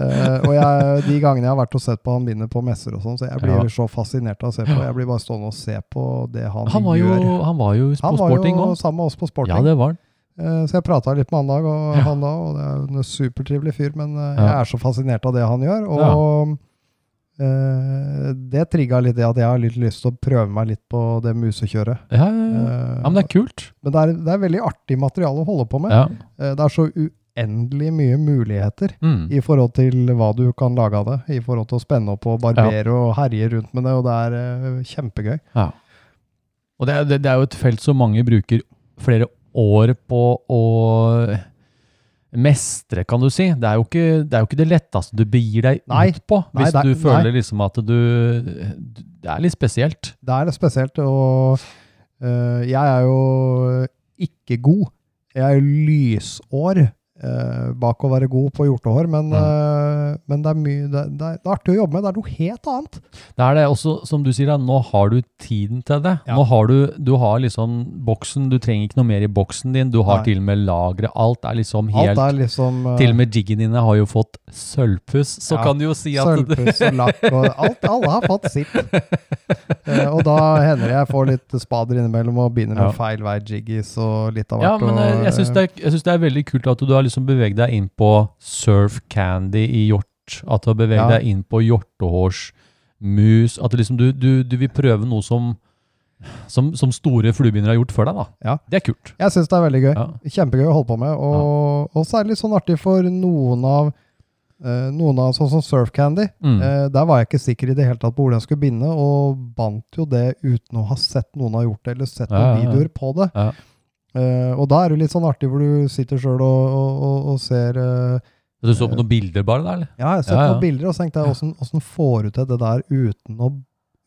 E: Eh, og jeg, de gangene jeg har vært og sett på han vinner på messer og sånn, så jeg blir
A: Ja.
E: så fascinert av å se på. Jeg blir bare stående og se på det han,
A: Han var jo,
E: gjør.
A: han var jo på
E: Han var
A: sporting
E: jo
A: òg.
E: sammen med oss på sporting.
A: Ja, det var han.
E: Eh, Så jeg prata litt med han dag og
A: Ja.
E: han da, og det er jo en supertrivelig fyr, men eh,
A: Ja.
E: jeg er så fascinert av det han gjør. Og eh, det trigga litt det at jeg har litt lyst til å prøve meg litt på det musekjøret.
A: Ja, ja, ja.
E: Eh,
A: Mm. Ja, men det er kult.
E: men det er, det er veldig artig materiale å holde på med.
A: Ja.
E: Eh, det er så uendelig mye muligheter
A: Mm.
E: i forhold til hva du kan lage av det. I forhold til å spenne opp og barbere og herje rundt med det, og det er eh, kjempegøy.
A: ja. Og det er, det, det er jo et felt som mange bruker flere år på å mestre, kan du si. Det er jo ikke det, er jo ikke det letteste du begir deg
E: Nei.
A: ut på,
E: Nei,
A: hvis
E: det er-
A: du føler liksom at du Det er litt spesielt.
E: Det er litt spesielt, og øh, jeg er jo ikke god. Jeg er jo lysår øh, bak å være god på hjortehår, men,
A: Mm.
E: øh, men det, er mye, det, det, er, det er artig å jobbe med. Det er noe helt annet.
A: Det er det også, som du sier, da, nå har du tiden til det.
E: Ja.
A: Nå har du, du har liksom boksen, du trenger ikke noe mer i boksen din, du har
E: Nei.
A: til og med lagret, alt er liksom helt
E: Alt er liksom øh,
A: Til og med jiggen dine har jo fått sølvpuss, så
E: Ja,
A: kan du jo si at
E: sølvpuss og lakk og alt. Alle har fått sitt. Eh, og da hender det jeg får litt spader innimellom og begynner med
A: Ja.
E: feil vei jiggis og litt av
A: Ja,
E: hvert.
A: men eh,
E: og,
A: jeg syns det, er- jeg synes det er veldig kult at du har liksom beveget deg inn på surf candy i hjort. At du har beveget
E: Ja.
A: deg inn på hjortehårsmus. At du liksom du, du, du vil prøve noe som, som, som store fluebinder har gjort før deg, da.
E: Ja.
A: Det er kult.
E: jeg syns det er veldig gøy.
A: Ja.
E: Kjempegøy å holde på med, og, og så er det litt sånn artig for noen av eh, noen av sånn som Surf Candy.
A: Mm.
E: Eh, der var jeg ikke sikker i det hele tatt på hvor den skulle binde, og bandt jo det uten å ha sett noen har gjort det, eller sett
A: Ja,
E: noen
A: ja, ja.
E: videoer på det.
A: Ja.
E: Eh, og da er det litt sånn artig hvor du sitter sjøl og, og, og, og ser eh,
A: Du så på noen bilder bare der, eller?
E: Ja, jeg har sett
A: Ja, ja.
E: noen bilder og så tenkte jeg, åssen- åssen får du til det der uten å,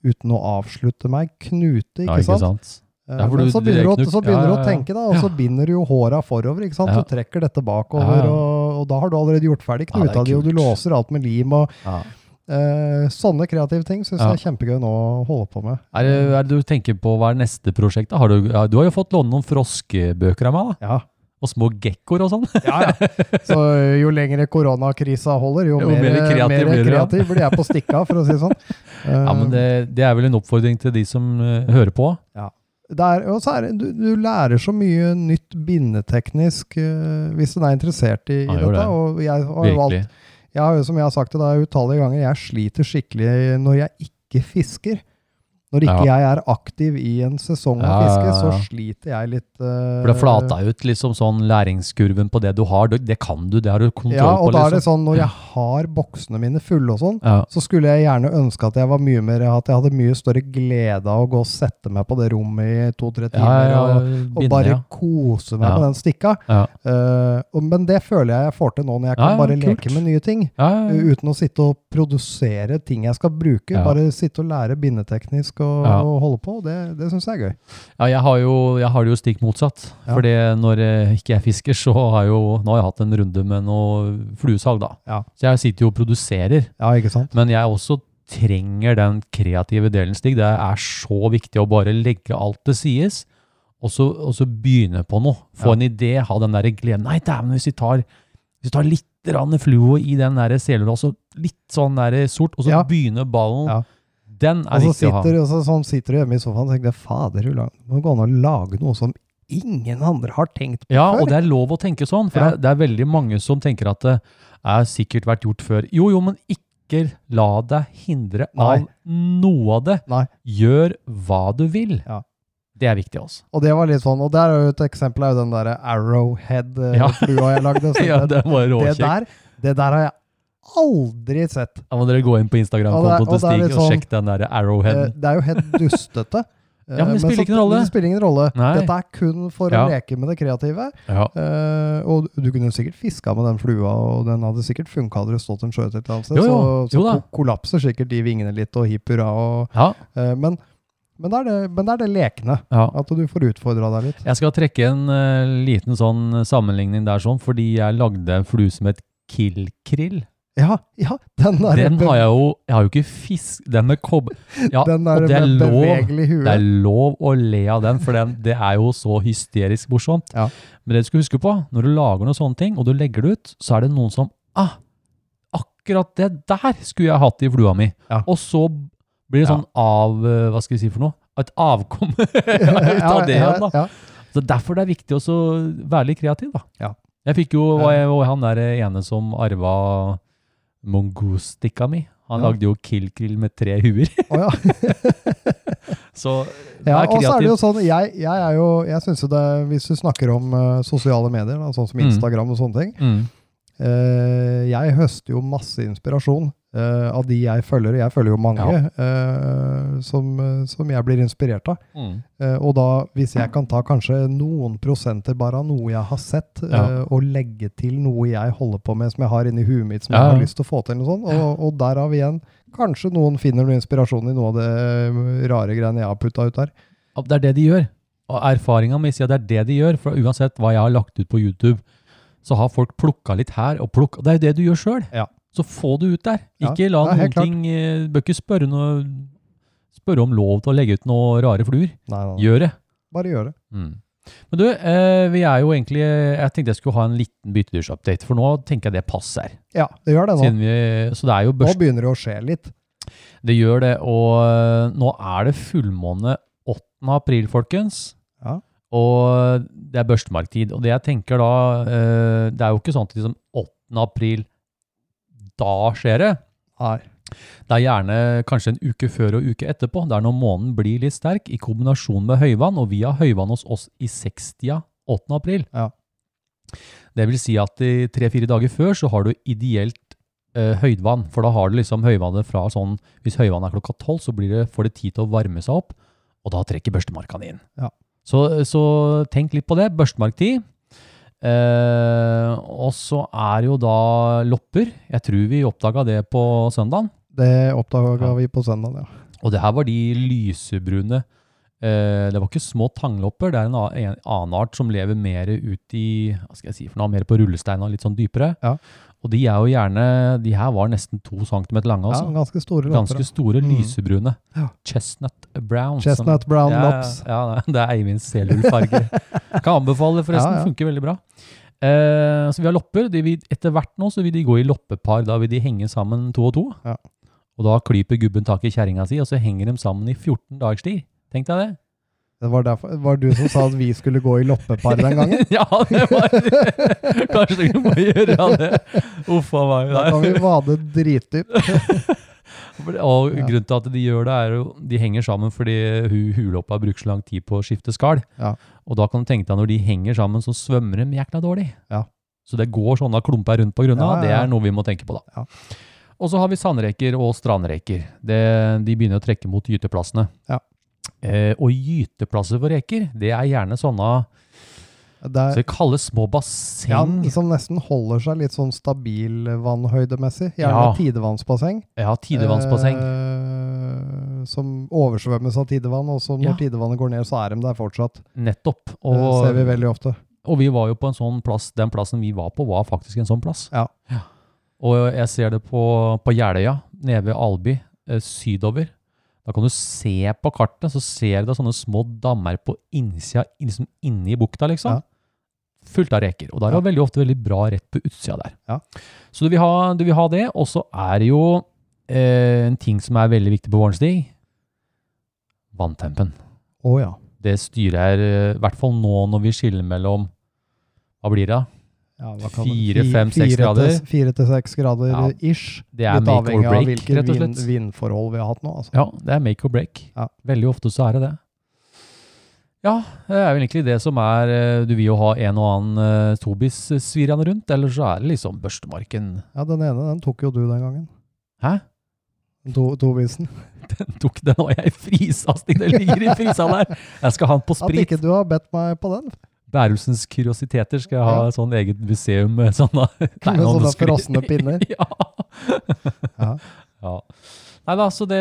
E: uten å avslutte meg? Knute, ikke,
A: Ja, ikke
E: sant?
A: sant?
E: Eh,
A: Ja, for
E: men
A: du-
E: så
A: det
E: begynner
A: er
E: du,
A: ikke
E: å-
A: noe-
E: så begynner du
A: ja, ja,
E: å
A: ja.
E: tenke, da, og så binder du jo håra forover. ikke sant?
A: Ja.
E: Du trekker dette bakover,
A: Ja, ja.
E: Og, og da har du allerede gjort ferdig
A: Ja, det er
E: knuta di, og du
A: kult.
E: låser alt med lim. og eh, Sånne kreative ting syns
A: Ja.
E: jeg er kjempegøy nå å holde på med.
A: Er det, er det du tenker på hva er neste prosjekt? da? Har du, ja, du har jo fått låne noen froskebøker av meg, da.
E: Ja,
A: Og små gekkoer og sånn.
E: ja, ja. Så eh, jo lengre koronakrisa holder, jo,
A: Jo
E: mer, eh,
A: mer kreativ
E: mer
A: blir du, ja.
E: kreativ blir jeg på stikka, for å si det sånn.
A: Ja, men det, det er vel en oppfordring til de som eh, hører på.
E: Eh, det er, og så er, det- du, du lærer så mye nytt bindeteknisk eh, hvis en er interessert i,
A: Ja,
E: i
A: gjør
E: dette.
A: det.
E: Og jeg har jo valgt
A: Virkelig.
E: Jeg har jo, som jeg har sagt til deg utallige ganger, jeg sliter skikkelig når jeg ikke fisker. Når ikke jeg er aktiv i en sesong
A: Ja,
E: av
A: ja, ja,
E: fiske,
A: ja.
E: så sliter jeg litt. eh,
A: For det flata ut liksom sånn læringskurven på det du har. Det, det kan du, det har du kontroll
E: Ja,
A: på.
E: og da er
A: liksom.
E: det sånn når jeg har boksene mine fulle og sånn,
A: ja.
E: så skulle jeg gjerne ønske at jeg var mye mer, at jeg hadde mye større glede av å gå og sette meg på det rommet i to-tre
A: Ja,
E: timer
A: ja, ja,
E: og, og
A: binde,
E: bare
A: ja.
E: kose meg
A: Ja.
E: med den stikka.
A: Ja.
E: Eh, og- men det føler jeg jeg får til nå, når jeg
A: Ja,
E: kan
A: ja,
E: bare
A: kult.
E: leke med nye ting.
A: ja, ja, ja.
E: uten å sitte og produsere ting jeg skal bruke.
A: Mm. Ja.
E: Bare sitte og lære bindeteknisk og,
A: Ja.
E: og holde på. Det, det syns jeg er gøy.
A: ja, jeg har jo jeg har det jo stikk motsatt.
E: Ja.
A: For når eh, ikke jeg fisker, så har jeg jo Nå har jeg hatt en runde med noe fluesag, da.
E: Ja.
A: Så jeg sitter jo og produserer.
E: Ja, ikke sant?
A: Men jeg også trenger den kreative delen, Stig. Det er så viktig å bare legge alt det sies, og så, og så begynne på noe. Få
E: Ja.
A: en idé, ha den der gleden. Nei, dæven, hvis vi tar, hvis vi tar litt grann fluo i den der selula, så litt sånn der sort, og så
E: Ja.
A: begynner ballen.
E: Ja.
A: Den er
E: Og så
A: viktig å ha.
E: sitter, og så, sånn sitter du hjemme i sofaen og tenker fader, Ulla, må det gå an å lage noe som ingen andre har tenkt på
A: Ja,
E: før?
A: og det er lov å tenke sånn, for
E: Ja.
A: det, er, det er veldig mange som tenker at det er sikkert vært gjort før. Jo, jo, men ikke la deg hindre
E: Nei.
A: av noe av det.
E: Nei.
A: Gjør hva du vil.
E: Ja.
A: Det er viktig altså. også.
E: Og det var litt sånn, og der er jo et eksempel er jo den der
A: Ja.
E: Arrowhead-flua jeg lagde. Så
A: Ja,
E: Altså, det,
A: det var
E: det,
A: råkjekt.
E: der, det der har jeg aldri sett.
A: Da må dere gå inn på
E: Og det er-
A: Instagram-kontoen til
E: og det er
A: Stig
E: litt
A: og
E: sånn-
A: sjekke den der
E: Eh,
A: arrowheaden.
E: Det er jo helt dustete. Eh,
A: Ja, men det spiller
E: så-
A: ikke noen rolle.
E: Det spiller ingen rolle.
A: Nei.
E: Dette er kun for
A: Ja.
E: å leke med det kreative.
A: Ja.
E: Eh, og du kunne jo sikkert fiska med den flua, og den hadde sikkert funka hadde det stått en sjøørret et eller annet sted.
A: Jo, jo.
E: Så, så
A: Jo da.
E: ko- kollapser sikkert de vingene litt, og hipp hurra. og-
A: ja,
E: eh, Men, men, det er det- men det er det lekne.
A: ja.
E: At du får utfordra deg litt.
A: Jeg skal trekke en eh, liten sånn sammenligning der sånn, fordi jeg lagde en flue som het Killkrill.
E: Ja, ja den der
A: Den
E: be-
A: har jeg jo Jeg har jo ikke fisk Den med kobb... Ja,
E: den der
A: og det er
E: med
A: lov.
E: bevegelig hue.
A: Det er lov å le av den, for den, det er jo så hysterisk morsomt.
E: Ja.
A: Men det du skal huske på, når du lager noen sånne ting, og du legger det ut, så er det noen som Ah, akkurat det der skulle jeg hatt i flua mi.
E: Ja.
A: Og så blir det sånn av eh, Hva skal vi si for noe? Et avkom ut av det igjen, da.
E: Ja,
A: Så derfor det er viktig også å være litt kreativ, da.
E: Ja.
A: Jeg fikk jo var jeg, var han der eh, ene som arva mongostikka mi. Han
E: Ja.
A: lagde jo killkrill med tre huer.
E: ja. Å, ja.
A: Så
E: Ja,
A: vær
E: og så er det
A: kreativ.
E: jo sånn, jeg, jeg er jo, jeg synes jo det, hvis du snakker om eh, sosiale medier, da, sånn som
A: Mm.
E: Instagram og sånne ting,
A: Mm.
E: eh, jeg høster jo masse inspirasjon eh, av de jeg følger, og jeg følger jo mange, eh, som, eh, som jeg blir inspirert av.
A: Mm.
E: Eh, og da, hvis jeg kan ta kanskje noen prosenter bare av noe jeg har sett, eh,
A: Ja.
E: og legge til noe jeg holder på med som jeg har inni huet mitt som
A: Ja, ja.
E: jeg har lyst til å få til, og, sånn, og, og derav igjen, kanskje noen finner noe inspirasjon i noe av det eh, rare greiene jeg har puttet ut der.
A: Ja, Det er det de gjør. Og erfaringa mi sier at det er det de gjør. For uansett hva jeg har lagt ut på YouTube, så har folk plukka litt her og plukka Det er jo det du gjør sjøl.
E: Ja.
A: Så få det ut der.
E: Ja,
A: Ikke la
E: ja,
A: noen
E: helt klart.
A: ting eh, Bør ikke spørre, noe, spørre om lov til å legge ut noen rare fluer.
E: Nei, nei, nei.
A: Gjør det.
E: Bare gjør det.
A: Mm. Men du, eh, vi er jo egentlig Jeg tenkte jeg skulle ha en liten byttedyrsupdate, for nå tenker jeg det passer.
E: Ja, det gjør det nå.
A: Siden vi, så det er jo
E: Nå
A: børst,
E: begynner det å skje litt.
A: det gjør det, og eh, nå er det fullmåne 8. april, folkens.
E: Ja.
A: Og det er børstemarktid. Og det jeg tenker da eh, Det er jo ikke sånn at liksom 8. april, da skjer det.
E: Nei.
A: Det er gjerne kanskje en uke før og uke etterpå. Det er når månen blir litt sterk, i kombinasjon med høyvann, og vi har høyvann hos oss i 60 8. april.
E: Ja.
A: Det vil si at i tre-fire dager før så har du ideelt eh, høydvann, for da har du liksom høyvannet fra sånn, hvis høyvannet er klokka 12, så blir det, får det tid til å varme seg opp, og da trekker børstemarkene inn.
E: Ja.
A: Så, så tenk litt på det, børstemarktid. Eh, og så er jo da lopper, jeg tror vi oppdaget det på søndagen,
E: Det oppdaga
A: Ja.
E: vi på søndag, ja.
A: og det her var de lysebrune eh, Det var ikke små tanglopper, det er en, a- en annen art som lever mer ut i Hva skal jeg si for noe? Mer på rullestein og litt sånn dypere.
E: Ja.
A: Og de er jo gjerne De her var nesten to centimeter lange,
E: ja
A: altså.
E: ganske store lopper.
A: Ganske
E: da.
A: store,
E: Mm.
A: lysebrune.
E: Ja.
A: Chestnut brown. Sånn som-
E: Chestnut brown
A: ja,
E: lops.
A: Ja, ja, det er Eivind Selul-farger. Kan anbefale, forresten.
E: Ja, ja.
A: Funker veldig bra. Eh, så vi har lopper. De vil, etter hvert nå så vil de gå i loppepar. Da vil de henge sammen to og to.
E: Ja.
A: Og da klyper gubben tak i kjerringa si, og så henger de sammen i 14 dagers tid. Tenk deg det.
E: Det var, derfor, var du som sa at vi skulle gå i loppepar den gangen?
A: ja, det var Kanskje du må gjøre det. Uff a meg.
E: Da kan vi vade dritdypt.
A: For- Og
E: Ja.
A: grunnen til at de gjør det, er jo de henger sammen fordi hu, huloppa bruker så lang tid på å skifte skall.
E: Ja.
A: Og da kan du tenke deg når de henger sammen, så svømmer de jækla dårlig.
E: Ja.
A: Så det går sånne klumper rundt på grunna.
E: Ja, ja,
A: Det
E: ja.
A: er noe vi må tenke på, da.
E: Ja.
A: Og så har vi sandreker og strandreker. Det, de begynner å trekke mot gyteplassene.
E: Ja.
A: Eh, og gyteplasser for reker, det er gjerne sånne
E: Det
A: så
E: er,
A: vi kaller små
E: Eh. ja,
A: basseng.
E: som nesten holder seg litt sånn stabil vannhøydemessig. Gjerne
A: Ja.
E: tidevannsbasseng.
A: Ja, tidevannsbasseng.
E: Eh, som oversvømmes av tidevann, og så når
A: Ja.
E: tidevannet går ned, så er de der fortsatt.
A: Nettopp.
E: Det Eh, ser vi
A: Og,
E: veldig ofte.
A: og vi var jo på en sånn plass. Den plassen vi var på, var faktisk en sånn plass.
E: Ja.
A: Og jeg ser det på, på Jeløya, nede ved Alby, eh, sydover. Da kan du se på kartet, så ser du det er sånne små dammer på innsida, liksom inni bukta, liksom.
E: Ja.
A: Fullt av reker. Og da er det veldig ofte veldig bra rett på utsida der.
E: Ja.
A: Så du vil, ha, du vil ha det. Og så er det jo eh, en ting som er veldig viktig på våren, Stig. Vanntempen.
E: Å ja.
A: Det styrer, eh, i hvert fall nå når vi skiller mellom Hva blir det? da?
E: ja hva kan-
A: Fire,
E: fi-
A: fem, seks
E: fire til-
A: grader.
E: Fire til seks grader
A: Ja.
E: ish.
A: Det er
E: Litt
A: make
E: avhengig
A: or
E: av
A: break,
E: hvilke
A: rett og
E: vind,
A: slett.
E: vindforhold vi har hatt nå. Altså.
A: Ja, det er make or break.
E: Ja.
A: Veldig ofte så er det det. Ja, det er vel egentlig det som er eh, Du vil jo ha en og annen eh, tobis eh, svirrende rundt, eller så er det liksom børstemarken.
E: Ja, den ene den tok jo du den gangen.
A: Hæ?
E: Den To, tobisen.
A: Den tok den, og jeg frisa, Stig. Det ligger i frisa der. Jeg skal ha den på
E: At
A: sprit.
E: ikke du har bedt meg på den.
A: Bærumsens kuriositeter skal jeg ha
E: Ja.
A: et sånn eget museum med sånne Nei,
E: med
A: nå
E: sånne
A: skri-
E: frosne pinner.
A: ja.
E: Ja.
A: ja. Nei da, så det,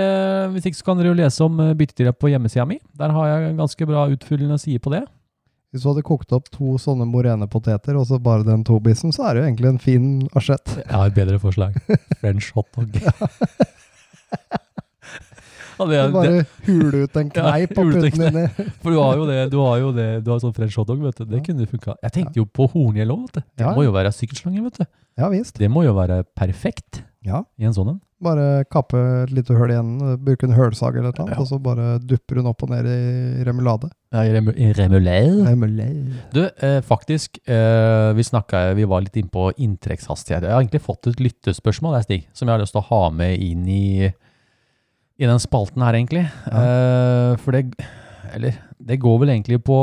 A: hvis ikke så kan dere jo lese om eh, byttedyret på hjemmesida mi. Der har jeg en ganske bra utfyllende side på det.
E: Hvis du hadde kokt opp to sånne morenepoteter og så bare den tobisen, så er det jo egentlig en fin asjett.
A: Jeg har et bedre forslag. French hotdog. Ja, det, er- det,
E: Bare hule ut en kneip og
A: hule ut en
E: putte den inni.
A: for du har jo det, du har jo det, du har sånn french hotdog, vet du. Det kunne funka. Jeg tenkte jo på horngjell òg, vet du. Det
E: Ja,
A: må jo være sykkelslange, vet du.
E: Ja visst.
A: Det må jo være perfekt
E: Ja.
A: i en sånn en.
E: Bare kappe et lite høl igjen, bruke en hølsag eller noe, annet, og så bare dupper hun opp og ned i remulade.
A: Ja, i remu- i remoulade.
E: Remulade.
A: Du, eh, faktisk, eh, vi snakket, vi var litt inne på inntrekkshastighet. Jeg har egentlig fått et lyttespørsmål, der, Stig, som jeg har lyst til å ha med inn i, i den spalten her, egentlig. Eh, for det, eller, det går vel egentlig på,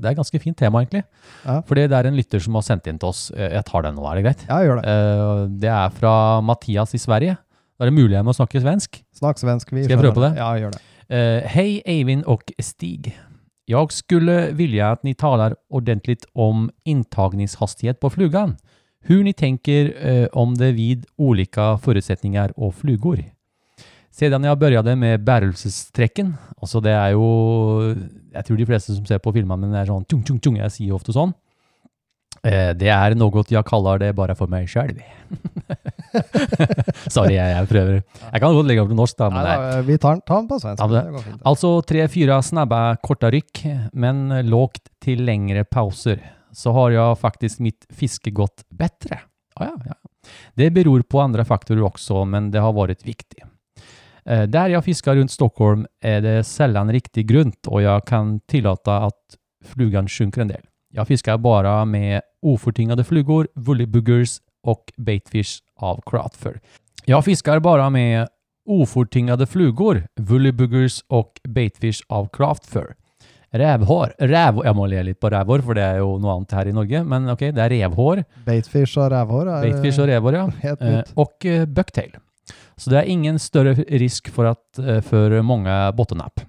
A: det er et ganske fint tema, egentlig.
E: Ja.
A: Fordi det er en lytter som har sendt inn til oss. Eh, Jeg tar den nå, er det greit?
E: Ja, gjør det.
A: Eh, det er fra Mathias i Sverige. Da er det mulig jeg må snakke svensk.
E: Snakk svensk. Vi
A: Ska jag
E: skjønner
A: prova på det?
E: Ja, gjør det.
A: Eh, Hej Eivind och Stig. Jag skulle vilja att ni talar ordentligt om intagningshastighet på flugan. Hur ni tänker eh, om det vid olika förutsättningar och flugor. Sedan jag började med bärelsestrecken, alltså det är ju, jag tror de flesta som ser på filmen, men det är sån tung, tung, tung, jag säger ofta sån. Eh, det är något jag kallar det bara för mig själv. Sorry, jag, jag prövar. Jag kan godt lägga upp det norskt, da, men
E: Nei,
A: det är-
E: da, vi tar den, ta den på svensk.
A: Ja, men-
E: det går fint.
A: Altså tre-fire snabba korta ryck, men lågt till längre pauser. Så har jag faktiskt mitt fiske gått bättre. Ja, ja, ja. Det beror på andra faktorer också, men det har varit viktigt. Eh, Där jag fiskar runt Stockholm är det sällan riktigt grunt och jag kan tillåta att flugan sjunker en del. Jag fiskar bara med oförtingade flugor, woollybuggers och baitfish av craftfur. Jag fiskar bara med ofortingade flugor, woollybuggers och baitfish av craftfur. Rävhår. Räv, jag må le litt på rävhår, för det är ju något annat här i Norge, men okej, det är rävhår.
E: Baitfish og rævhår er
A: Baitfish och rävhår, ja.
E: helt
A: Eh,
E: nytt.
A: och eh, bucktail. Så det är ingen större risk för, att, eh, för många bottennapp.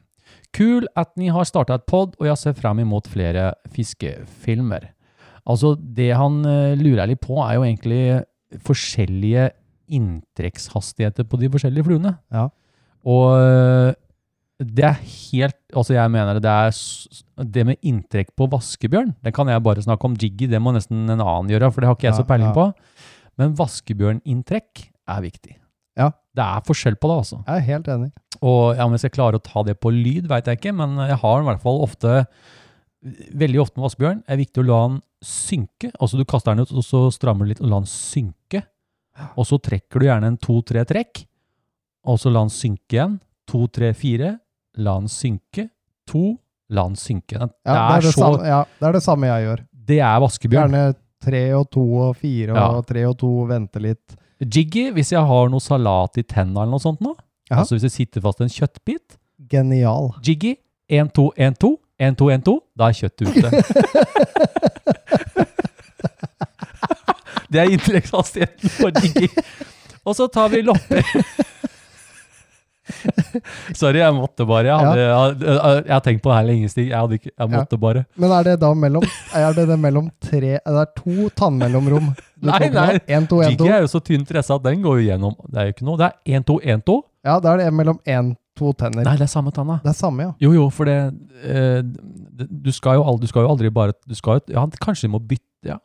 A: Kul att ni har startat podd och jag ser fram emot flera fiskefilmer. Alltså det han eh, lurar lite på är ju egentligen forskjellige inntrekkshastigheter på de forskjellige fluene.
E: Ja.
A: Og eh, det er helt, altså jeg mener det er s- det med inntrekk på vaskebjørn, det kan jeg bare snakke om jiggy, det må nesten en annen gjøre, for det har ikke jeg
E: Ja,
A: så peiling
E: ja.
A: på. Men vaskebjørninntrekk er viktig.
E: Ja.
A: Det er forskjell på det, altså.
E: Jeg er helt enig.
A: Og ja, om jeg skal klare å ta det på lyd, veit jeg ikke, men jeg har den i hvert fall ofte Veldig ofte med vaskebjørn er viktig å la den synke. Altså du kaster den ut, og så strammer du litt og lar den synke. Og så trekker du gjerne en to-tre trekk, og så la den synke igjen. To-tre-fire, la den synke. To, la den synke. Det
E: Ja, det, er det,
A: så
E: samme, ja, det er det samme jeg gjør.
A: Det er vaskebjørn.
E: Gjerne tre og to og fire
A: Ja.
E: og tre og to, vente litt.
A: Jiggy, hvis jeg har noe salat i tennene eller noe sånt nå,
E: Ja.
A: altså hvis det sitter fast en kjøttbit,
E: Genial.
A: Jiggy, 1, 2, 1, 2, 1, 2, 1, 2, da er kjøttet ute. det er intellekthastigheten på Jiggy. Og så tar vi lopper. Sorry, jeg måtte bare. Jeg, hadde, jeg, jeg, har tenkt på det her lenge, Stig. Jeg, hadde ikke, jeg
E: Ja.
A: måtte bare.
E: Men er det da mellom Er det det mellom tre Det er to tannmellomrom.
A: Nei, nei.
E: En, to, en, to.
A: Jiggy er jo så tynt dressa at den går jo gjennom. Det er jo ikke noe. Det er 1, 2, 1, 2.
E: Ja, da er det en mellom én, to tenner.
A: Nei, det er samme tanna.
E: Det er samme, ja.
A: Jo, jo, for det eh, d- Du skal jo aldri, du skal jo aldri bare du skal jo, ja, Kanskje de må bytte ja.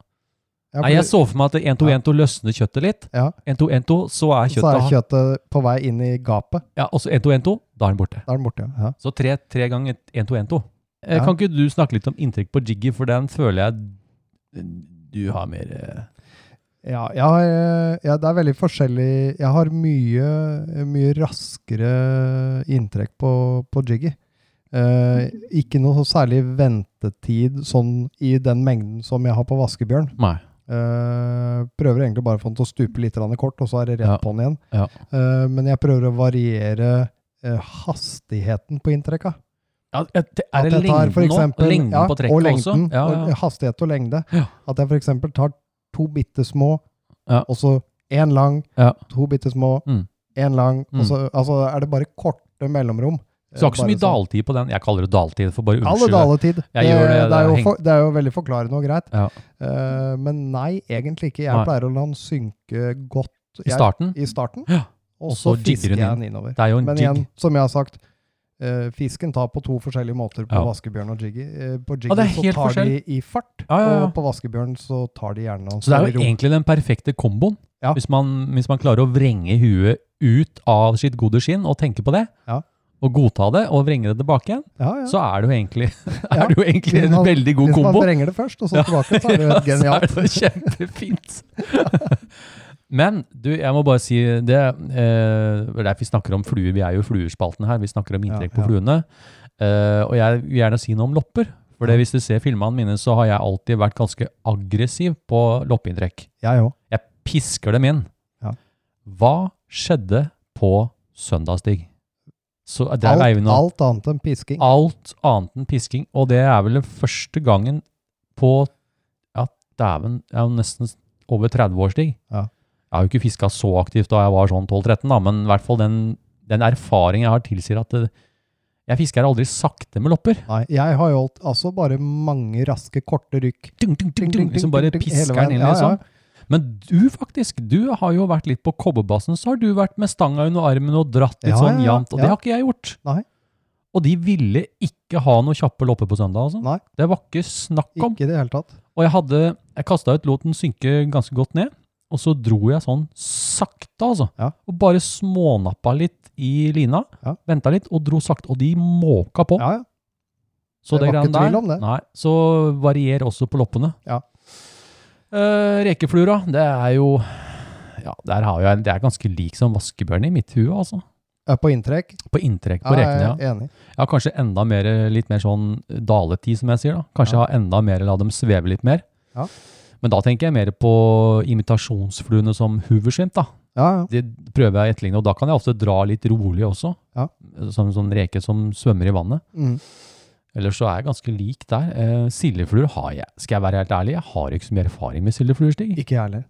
E: ja
A: Nei,
E: for-
A: Jeg så for meg at 1-2-1-2 løsner kjøttet litt.
E: Ja.
A: 1-2-1-2, så er
E: så er
A: kjøttet
E: kjøttet på vei inn i gapet.
A: ja, Og så 1-2-1-2, da er den borte.
E: Da er den borte, ja.
A: Så tre, tre ganger 1-2-1-2. Eh,
E: Ja.
A: Kan ikke du snakke litt om inntrekk på Jiggy, for den føler jeg du har mer eh,
E: Ja, jeg har, eh, ja, det er veldig forskjellig. Jeg har mye, mye raskere inntrekk på, på Jiggy. Eh, ikke noe særlig ventetid sånn i den mengden som jeg har på vaskebjørn.
A: Nei.
E: Eh, prøver egentlig bare å få den til å stupe litt grann kort, og så er det rett
A: Ja.
E: på den igjen.
A: Ja.
E: Eh, men jeg prøver å variere eh, hastigheten på inntrekka.
A: Ja, er
E: At
A: det
E: jeg tar
A: lengden,
E: for
A: nå?
E: eksempel-
A: lengden
E: ja,
A: på trekket
E: og lengden,
A: også? Ja, ja.
E: Og hastighet og lengde.
A: Ja.
E: At jeg f.eks. tar to bitte små,
A: Ja.
E: og så én lang,
A: Ja.
E: to bitte små,
A: Mm.
E: én lang.
A: Mm.
E: Og så altså, er det bare korte mellomrom.
A: Så
E: Eh,
A: det var ikke så
E: Bare sånn.
A: mye daltid på den. Jeg kaller det daltid, for bare
E: Alle
A: unnskyld.
E: daletid.
A: Jeg gjør det, det
E: er
A: er
E: jo
A: heng-
E: for, det er jo veldig forklarende og greit.
A: Ja.
E: Eh, men nei, egentlig ikke. Jeg
A: Nei.
E: pleier å la den synke godt
A: I starten.
E: Jeg, i starten
A: Ja.
E: og
A: Så
E: så
A: jigger
E: fisker
A: den
E: jeg
A: inn.
E: den innover.
A: Det er jo en
E: Men
A: jig.
E: igjen, som jeg har sagt, eh, fisken tar på to forskjellige måter på
A: Ja.
E: vaskebjørn og jiggy. Eh, på jiggy
A: Ja, det er
E: så
A: helt
E: tar
A: forskjell.
E: de i fart,
A: Ja, ja, ja.
E: og på vaskebjørn så tar de gjerne noen
A: Så det er jo
E: store rom.
A: egentlig den perfekte komboen.
E: Ja.
A: Hvis, man, hvis man klarer å vrenge huet ut av sitt gode skinn og tenke på det,
E: Ja.
A: og godta det og vrenge det tilbake igjen,
E: Ja, ja.
A: så er det jo egentlig,
E: Ja.
A: er det jo egentlig
E: Hvis
A: en
E: man-
A: veldig god
E: Hvis man
A: kombo.
E: vrenger det først, og så tilbake, så er det jo
A: Ja, så
E: genialt.
A: er det kjempefint. Men du, jeg må bare si det eh, Det er derfor vi snakker om fluer. Vi er jo i fluespalten her. Vi snakker om inntrekk
E: Ja,
A: på fluene. Eh, og jeg vil gjerne si noe om lopper. For det, hvis du ser filmene mine, så har jeg alltid vært ganske aggressiv på loppeinntrekk.
E: Jeg òg.
A: Jeg pisker dem inn.
E: Ja.
A: Hva skjedde på søndagsstig? Så der er vi
E: Alt,
A: nå.
E: alt annet enn pisking.
A: Alt annet enn pisking, og det er vel den første gangen på ja, dæven, jeg er jo nesten over 30 års tid.
E: Ja.
A: Jeg har jo ikke fiska så aktivt da jeg var sånn 12-13, da, men i hvert fall den, den erfaringen jeg har, tilsier at det, jeg fisker aldri sakte med lopper.
E: Nei, jeg har jo holdt altså bare mange raske, korte rykk.
A: Dung, dung, dung,
E: Ding,
A: dung,
E: ding,
A: liksom
E: ding,
A: bare
E: ding, ding, hele
A: pisker den inn,
E: veien. Ja, ja.
A: liksom. Men du faktisk, du har jo vært litt på kobberbassen, så har du vært med stanga under armen og dratt litt
E: Ja,
A: sånn
E: ja, ja,
A: jevnt, og det
E: ja.
A: har ikke jeg gjort.
E: Nei.
A: Og de ville ikke ha noe kjappe lopper på søndag, altså.
E: Nei.
A: Det var ikke snakk om.
E: Ikke i det hele tatt.
A: Og jeg hadde, jeg kasta ut, lot den synke ganske godt ned. Og så dro jeg sånn sakte, altså.
E: Ja.
A: Og bare smånappa litt i lina.
E: Ja.
A: Venta litt, og dro sakte. Og de måka på.
E: Ja, ja.
A: så
E: det var
A: greiene
E: ikke tvil
A: der-
E: om det.
A: Nei, så varier også på loppene.
E: Ja.
A: Eh, rekeflura, det er jo Ja, der har jeg en Det er ganske lik som vaskebjørn i mitt hue, altså.
E: Jeg er På inntrekk.
A: På inntrekk på
E: Ja, jeg
A: rekene, ja.
E: er enig.
A: Jeg har kanskje enda mer, litt mer sånn daletid, som jeg sier. da. Kanskje jeg har enda mer, la dem sveve litt mer.
E: Ja.
A: Men da tenker jeg mer på imitasjonsfluene som hoversvimp. da.
E: Ja, ja.
A: Det prøver jeg å etterligne, og da kan jeg ofte dra litt rolig også.
E: Ja.
A: Som en sånn reke som svømmer i vannet.
E: Mm.
A: Ellers så er jeg ganske lik der. Eh, sildefluer har jeg, skal jeg være helt ærlig, jeg har ikke så mye erfaring med sildefluer. Stig.
E: Ikke jeg heller.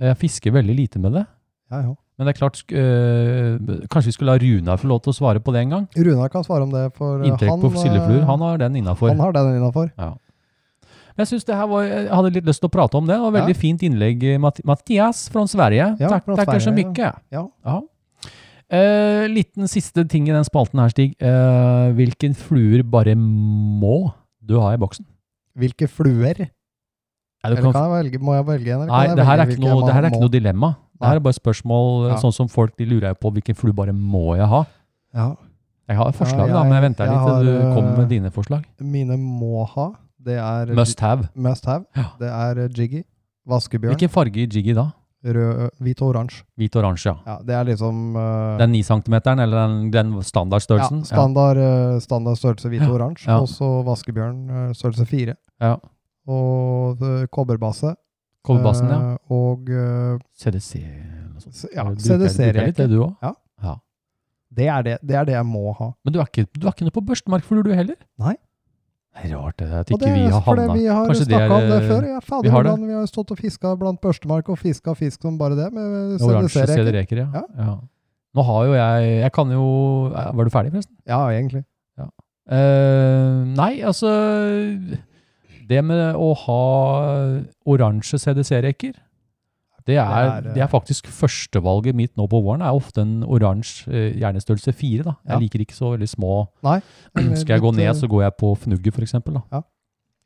A: Jeg fisker veldig lite med det.
E: Jeg òg.
A: Men det er klart, sk- eh, kanskje vi skulle la Runar få lov til å svare på det en gang?
E: Runar kan svare om det, for eh,
A: Inntrekk på
E: eh,
A: sildefluer, han har den innafor.
E: han har den innafor.
A: Men jeg synes det her var, jeg hadde litt lyst til å prate om det. Det var veldig fint innlegg, Mat Mathias fra Sverige.
E: Ja,
A: Takk,
E: från
A: tackar så
E: Sverige,
A: mycket.
E: ja.
A: Eh, liten siste ting i den spalten her, Stig. Eh, hvilken fluer bare må du ha i boksen?
E: Hvilke fluer?
A: Ja, du
E: Eller
A: kan-
E: kan jeg velge, må jeg velge en? Eller
A: nei,
E: kan jeg
A: det her er
E: velge
A: ikke
E: hvilke
A: noe,
E: jeg
A: det her er
E: må-
A: ikke noe dilemma. Det her er bare spørsmål,
E: Ja.
A: sånn som folk de lurer jo på hvilken flue bare må jeg ha.
E: ja.
A: Jeg har et forslag, da,
E: jeg-
A: men jeg venter
E: jeg
A: litt til
E: har,
A: du kommer med
E: eh,
A: dine forslag.
E: Mine må ha, det er
A: Must have.
E: must have.
A: Ja.
E: Det er eh, Jiggy, Vaskebjørn,
A: Hvilken farge i Jiggy da?
E: rød, eh, hvit og oransje.
A: Hvit og oransje, ja.
E: Ja, det er liksom eh,
A: Den 9 cm-meteren, eller den, den standardstørrelsen?
E: Ja, standard, eh, standard størrelse hvit og oransje.
A: ja.
E: Og så Vaskebjørn eh, størrelse fire.
A: Ja.
E: Og eh, kobberbase.
A: Kobberbassen, ja.
E: eh, Og eh,
A: CDC eller noe sånt.
E: s- ja,
A: Bruker- bruker litt
E: CDC-reker.
A: Det, du også.
E: Ja. Det, er det- det er det jeg må ha.
A: Men du er, ikke, du er ikke noe på børstemarkflur, du heller?
E: Nei.
A: Det er rart det, at
E: Og
A: ikke
E: det
A: vi
E: er
A: har
E: fordi
A: havna
E: Vi har
A: Kanskje det
E: snakket om det
A: er,
E: før. Ja, fader,
A: vi har det.
E: hvordan vi har stått og fiska blant børstemark og fiska fisk som bare det. Med
A: oransje
E: CDC-reker.
A: CD-reker, ja.
E: Ja.
A: ja. Nå har jo jeg Jeg kan jo eh, Var du ferdig, forresten?
E: Ja, egentlig.
A: Eh, nei, altså Det med å ha oransje CDC-reker det er,
E: Det er, eh,
A: det er faktisk førstevalget mitt nå på våren. er ofte en oransje, eh, gjerne størrelse fire. da. Jeg
E: Ja.
A: liker ikke så veldig små.
E: Men
A: Skal jeg gå
E: litt,
A: ned,
E: eh,
A: så går jeg på fnugget, for eksempel. da.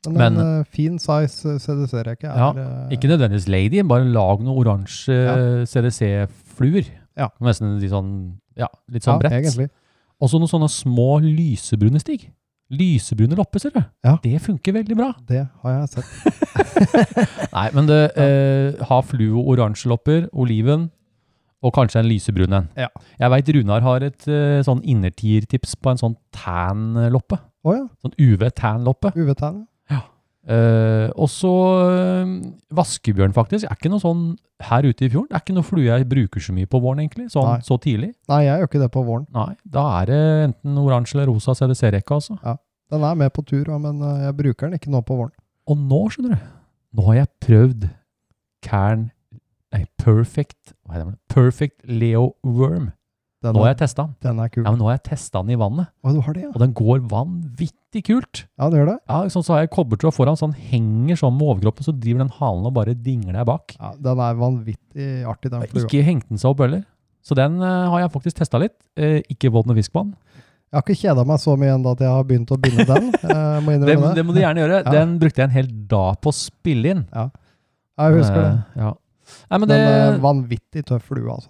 E: Men en
A: men-
E: eh, fin size eh, CDC-reke er
A: Ja,
E: eh,
A: Ikke nødvendigvis lady, bare lag noen oransje CDC-fluer.
E: Ja.
A: Nesten litt sånn, ja, litt sånn
E: Ja,
A: bredt.
E: egentlig.
A: Og så noen sånne små lysebrune stig. Lysebrune lopper, ser du.
E: Ja.
A: Det funker veldig bra.
E: Det har jeg sett.
A: Nei, men det, eh, ha fluo oransje lopper, oliven, og kanskje en lysebrun en.
E: Ja.
A: Jeg veit Runar har et eh, sånn innertiertips på en sånn tan-loppe.
E: Å ja.
A: Sånn UV-tan-loppe.
E: UV-tegn.
A: Eh, og så eh, vaskebjørn, faktisk. Er ikke noe sånn her ute i fjorden. Det er ikke noe flue jeg bruker så mye på våren, egentlig. Sånn
E: Nei.
A: så tidlig.
E: Nei, jeg gjør ikke det på våren.
A: Nei. Da er det enten oransje eller rosa CDC-rekka, altså.
E: Den er med på tur, ja, men eh, jeg bruker den ikke nå på våren.
A: Og nå, skjønner du, nå har jeg prøvd Cairn Nei, Perfect Hva heter det? Perfect Leo Worm.
E: Den,
A: Nå har
E: er,
A: jeg testa den.
E: den er kul.
A: Ja, men nå har jeg testet den i vannet,
E: Å, du har det, ja.
A: og den går vanvittig kult.
E: Ja, det gjør det.
A: Ja, sånn så har jeg kobbertråd foran, så den henger sånn med overkroppen, så driver den halen og bare dingler der bak.
E: Ja, den er vanvittig artig, den
A: Jeg har
E: flua.
A: Ikke hengt den seg opp heller. Så den eh, har jeg faktisk testa litt. Eh, ikke våt med fisk på den.
E: Jeg har ikke kjeda meg så mye ennå at jeg har begynt å binde den. Jeg
A: Det,
E: må innrømme det.
A: det må du gjerne gjøre.
E: Ja.
A: Den brukte jeg en hel dag på å spille inn.
E: Ja, Jeg husker det.
A: Eh, ja. Nei, men
E: Men
A: det,
E: eh, vanvittig tøff flue, altså.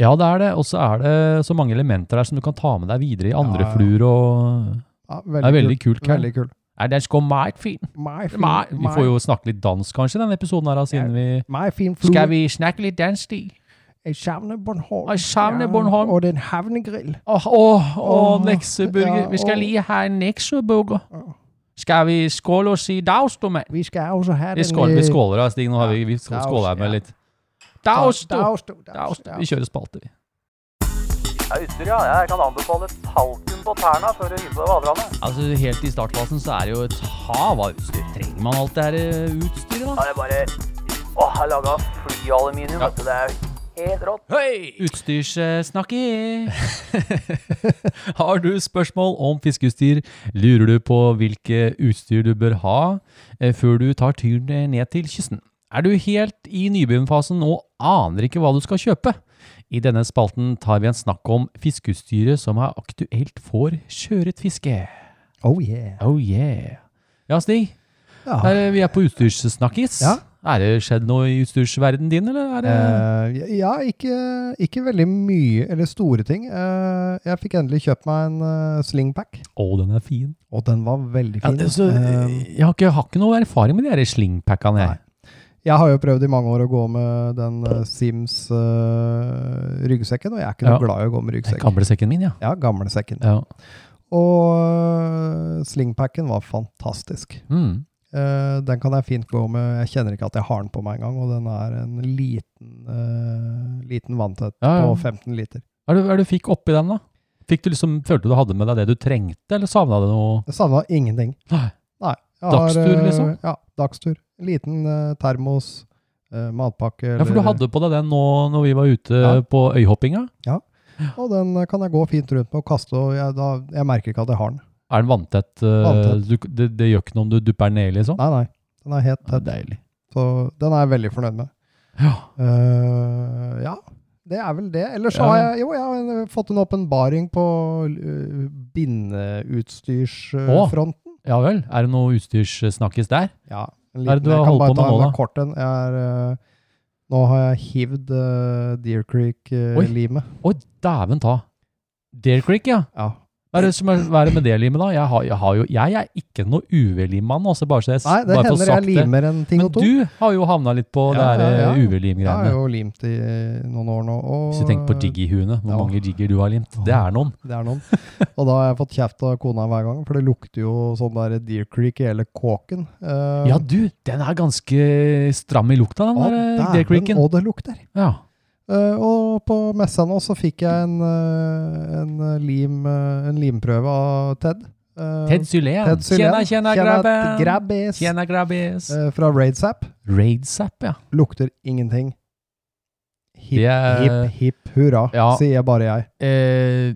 A: ja, det er det. Og så er det så mange elementer her som du kan ta med deg videre i andre
E: Ja, ja.
A: fluer. Og
E: Ja,
A: det er veldig kult. Ken.
E: Veldig kul.
A: Nei, den skal meget fin.
E: My fin,
A: Nei, Vi får jo snakke litt dansk kanskje i denne episoden her, da, siden vi
E: my fin flue.
A: Skal vi snakke litt dansk, de?
E: Jeg savner Bornholm.
A: Jeg savner
E: Ja,
A: Bornholm.
E: Og den havnegrill.
A: Åh, åh, åh,
E: Åh,
A: nekseburger.
E: ja,
A: Vi skal
E: åh.
A: lige ha en nekseburger.
E: Åh.
A: Skal vi skåle og si daus, du, mann?
E: Vi skal også ha
A: Vi
E: den eh,
A: skåler, vi skåler da, Stig. Nå har vi, vi skal
E: daus,
A: skåle her med
E: ja.
A: litt. Daus, du!
E: Daus, du.
A: Daus,
E: Daus,
A: du. Vi kjører spalte, vi.
B: Ja, utstyr, ja. Jeg kan anbefale talken på tærne før du hiver deg vaderne.
A: Altså, helt i startfasen så er det jo et hav av utstyr. Trenger man alt det her eh, utstyret,
B: Ja, det er bare Åh, jeg laga flyaluminium,
A: Ja.
B: vet du. Det er helt rått.
A: Utstyrssnakker. har du spørsmål om fiskeutstyr, lurer du på hvilke utstyr du bør ha eh, før du tar turen ned til kysten? Er du helt i nybegynnerfasen og aner ikke hva du skal kjøpe? I denne spalten tar vi en snakk om fiskeutstyret som er aktuelt for sjøørretfiske.
E: Oh yeah.
A: Oh yeah. Ja, Stig.
E: Ja.
A: Er, vi er på utstyrssnakkis.
E: Ja.
A: Er det skjedd noe i utstyrsverdenen din, eller? Er det...
E: Eh, ja, ikke, ikke veldig mye, eller store ting. Eh, jeg fikk endelig kjøpt meg en eh, slingpack,
A: Å, den er fin.
E: og den var veldig
A: Ja,
E: fin.
A: det, så,
E: Eh,
A: jeg har ikke, har ikke noe erfaring med de her slingpackene. Jeg.
E: jeg har jo prøvd i mange år å gå med den eh, Sims eh, ryggsekken, og jeg er ikke
A: Ja.
E: noe glad i å gå
A: Den
E: med ryggsekk.
A: gamle sekken min, ja.
E: Ja, gamlesekken.
A: ja.
E: Og eh, slingpacken var fantastisk.
A: Mm.
E: Eh, den kan jeg fint gå med. Jeg kjenner ikke at jeg har den på meg engang, og den er en liten, eh, liten vanntett
A: Ja, ja.
E: på 15 liter.
A: Hva er det hva er det du fikk oppi den, da? Fikk du liksom, Følte du du hadde med deg det du trengte, eller savna du noe?
E: Jeg savna ingenting.
A: Nei.
E: Nei, jeg
A: Dagstur,
E: eh,
A: liksom?
E: Ja, dagstur. Liten eh, termos, eh,
A: Ja,
E: matpakke.
A: For du
E: eller-
A: hadde på deg den nå når vi var ute
E: Ja.
A: på øyhoppinga.
E: Og den eh, kan jeg gå fint rundt med og kaste, og jeg, da, jeg merker ikke at jeg har den.
A: Er den vanntett? eh,
E: Vanntett.
A: Du, det, det gjør ikke noe om du dupper den ned, liksom?
E: Nei, nei. Den er helt
A: Ja,
E: tett,
A: deilig.
E: så den er jeg veldig fornøyd med.
A: Ja.
E: Eh, ja, det er vel det. Ellers så
A: Ja.
E: har jeg jo jeg har eh, fått en åpenbaring på uh,
A: Å.
E: bindeutstyrsfronten.
A: ja vel. Er det noe utstyrssnakkis der?
E: Ja. En
A: Hva er det du
E: jeg
A: har
E: kan
A: holdt
E: bare
A: på med
E: ta
A: nå,
E: en
A: da?
E: Kort en. Jeg er, eh, nå har jeg hivd eh, Deer
A: Oi.
E: Creek-limet.
A: Å, dæven ta! Dare Creek, ja.
E: ja.
A: Hva er det, som er, hva er det med det limet, da? Jeg, har, jeg, har jo, jeg er ikke noe UV-limmann. altså, bare så jeg s-
E: Nei, det
A: bare får
E: hender jeg
A: sagt det.
E: limer en ting
A: Men
E: og to.
A: du har jo havna litt på
E: Ja,
A: det her
E: ja, ja.
A: UV-lim-greiene.
E: jeg har jo limt i eh, noen år nå. Og,
A: Hvis du tenker på jiggy-huene, hvor
E: Ja.
A: mange jigger du har limt, det er noen.
E: Det er noen. Og da har jeg fått kjeft av kona hver gang, for det lukter jo sånn der Deer Creek i hele kåken. Eh,
A: Ja, du, den er ganske stram i lukta, den
E: å,
A: der
E: dæven,
A: Dare Creeken.
E: Og det lukter.
A: Ja.
E: Eh, og på messa nå så fikk jeg en, eh, en, eh, lim, eh, en limprøve av Ted. Eh,
A: Ted Sylén.
E: Ted Sylén.
A: Tjena, tjena, grabben.
E: grabbis.
A: Tjena, grabbis.
E: Eh, fra Raidsap.
A: Raidsap, ja.
E: Lukter ingenting. Hipp,
A: Det er-
E: hipp, hipp hurra,
A: Ja.
E: sier bare jeg.
A: Eh,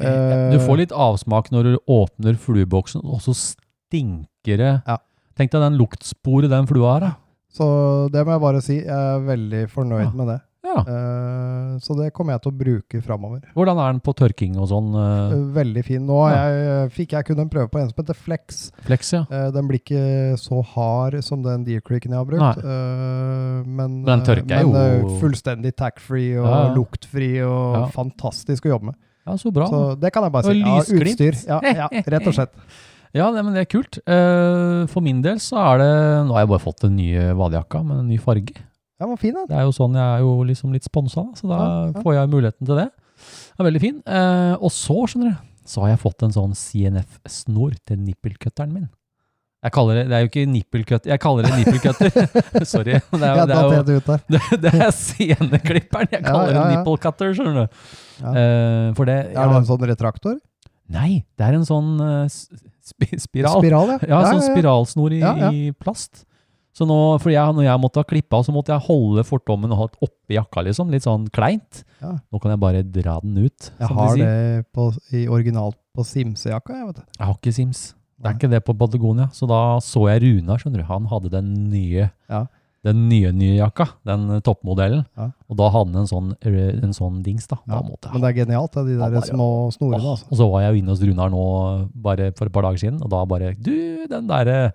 E: Eh.
A: du får litt avsmak når du åpner flueboksen, og så stinker det.
E: Ja.
A: Tenk deg den luktsporet den flua har. da.
E: Så det må jeg bare si, jeg er veldig fornøyd
A: Ja.
E: med det.
A: Ja.
E: Eh, så det kommer jeg til å bruke framover.
A: Hvordan er den på tørking og sånn? eh,
E: Veldig fin. Nå har jeg, eh, fikk jeg kun en prøve på en som heter Flex.
A: Flex, ja.
E: Eh, den blir ikke så hard som den Deer Creeken jeg har brukt. eh, men
A: Den tørker
E: eh, men,
A: jo-
E: eh, fullstendig tax-free og
A: Ja, ja.
E: luktfri og
A: Ja.
E: fantastisk å jobbe med.
A: Ja, Så bra.
E: Så det kan jeg bare
A: Og
E: si. Ja,
A: lysglimt.
E: utstyr. Ja, ja, rett og slett.
A: Ja, nei, men det er kult. Eh, for min del så er det Nå har jeg bare fått den nye vadejakka med en ny farge.
E: Den var fin, den.
A: Det er jo sånn jeg er jo liksom litt sponsa, så da
E: Ja, ja.
A: får jeg muligheten til det. Den er veldig fin. Eh, og så, skjønner du, så har jeg fått en sånn CNF-snor til nippelkutteren min. Jeg kaller det, det er jo ikke nippelcutter, jeg kaller det nippelcutter. Sorry. men Det er,
E: Jeg
A: jo- det er, jo,
E: daterte ut der.
A: det, det er sceneklipperen. Jeg
E: Ja,
A: kaller
E: ja,
A: det
E: ja.
A: nipple cutter, skjønner du.
E: Ja.
A: Eh, for det
E: Er det en sånn retraktor?
A: Nei, det er en sånn eh, s- spi- spiral.
E: Spiral, ja.
A: Ja, sånn spiralsnor i,
E: Ja, ja.
A: i plast. Så nå, for jeg, når jeg måtte ha klippa, så måtte jeg holde fortommen og ha det oppi jakka, liksom. Litt sånn kleint.
E: Ja.
A: Nå kan jeg bare dra den ut.
E: Jeg
A: som de
E: har
A: sier.
E: det på, i originalt på Simsejakka, jeg, vet du.
A: Jeg har ikke Sims. Det
E: Nei.
A: er ikke det på Patagonia. Så da så jeg Runar, skjønner du. Han hadde den nye,
E: Ja.
A: den nye, nye jakka. Den eh, toppmodellen.
E: Ja.
A: Og da hadde han en sånn, eh, en sånn dings, da.
E: Ja,
A: da måtte jeg.
E: Men det er genialt, det, de
A: Han
E: der
A: var jo-
E: små snorene.
A: Åh,
E: Altså.
A: og så var jeg jo inne hos Runar nå eh, bare for et par dager siden, og da bare Du, den derre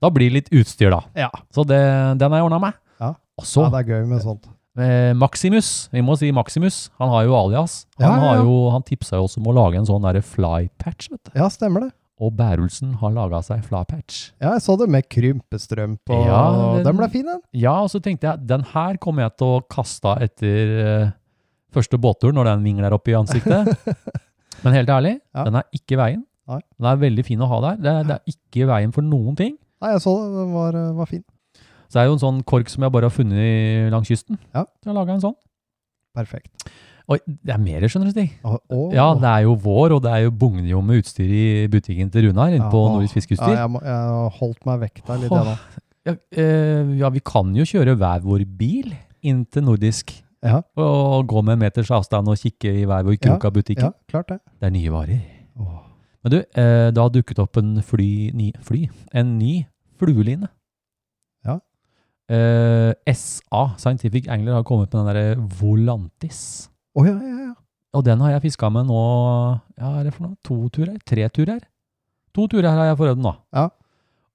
A: Da blir det litt utstyr, da.
E: Ja.
A: Så det, den har jeg ordna meg.
E: Ja.
A: Og så
E: ja, det er gøy med sånt.
A: eh, Maximus. Vi må si Maximus. Han har jo alias. Han,
E: Ja, ja,
A: har
E: ja.
A: jo- han tipsa jo oss om å lage en sånn derre flypatch, vet du.
E: Ja, stemmer det.
A: Og Bærulsen har laga seg flypatch.
E: Ja, jeg så det med krympestrømpe, og
A: Ja, den-
E: den ble fin, den.
A: Ja, og så tenkte jeg, den her kommer jeg til å kaste av etter eh, første båttur når den vingler opp i ansiktet. Men helt ærlig,
E: Ja.
A: den er ikke i veien.
E: Nei.
A: Den er veldig fin å ha der. Det, er- det er ikke i veien for noen ting.
E: Nei, jeg så det. Den var, eh, var fin.
A: Så det er jo en sånn kork som jeg bare har funnet i- langs kysten.
E: Ja.
A: Så jeg laget en sånn.
E: Perfekt.
A: Oi, det er mer, skjønner du, Stig.
E: Og, og,
A: Ja, det er jo vår, og det er jo bugner jo med utstyr i butikken til Runar inne på
E: Ja,
A: Nordisk Fiskeutstyr.
E: Ja, jeg, må, jeg holdt meg vekk der litt, jeg nå.
A: Ja, eh, ja, vi kan jo kjøre hver vår bil inn til nordisk.
E: Ja.
A: Og gå med en meters avstand og kikke i hver vår krok av butikken.
E: Ja, klart det.
A: Det er nye varer. Men du, eh, det har dukket opp en fly, ny, fly, en ny flueline.
E: Ja.
A: Eh, SA, Scientific Angler, har kommet med den derre Volantis.
E: Å ja, ja, ja.
A: Og den har jeg fiska med nå ja, er det for noe? to turer? Tre turer? To turer har jeg forøvd nå.
E: Ja.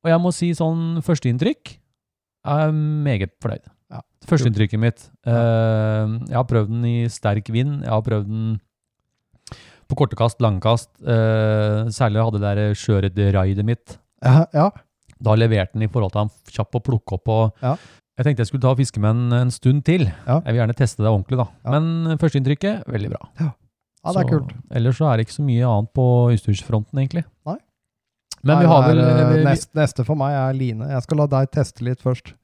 A: Og jeg må si sånn førsteinntrykk Jeg er meget fornøyd.
E: Ja.
A: Førsteinntrykket mitt eh, Jeg har prøvd den i sterk vind. Jeg har prøvd den på korte kast, lange kast. eh, særlig hadde det der sjøørretraidet mitt.
E: ja, ja.
A: Da leverte den i forhold til han kjapp å plukke opp. Og
E: Ja.
A: Jeg tenkte jeg skulle ta og fiske med den en stund til.
E: Ja.
A: Jeg vil gjerne teste det ordentlig, da.
E: Ja.
A: Men førsteinntrykket, veldig bra.
E: ja det er
A: Så
E: kult.
A: Ellers så er det ikke så mye annet på utstyrsfronten, egentlig.
E: Nei.
A: Men vi
E: Nei,
A: har
E: det
A: vel
E: er, eh,
A: vi-
E: nest, Neste for meg er Line. Jeg skal la deg teste litt først.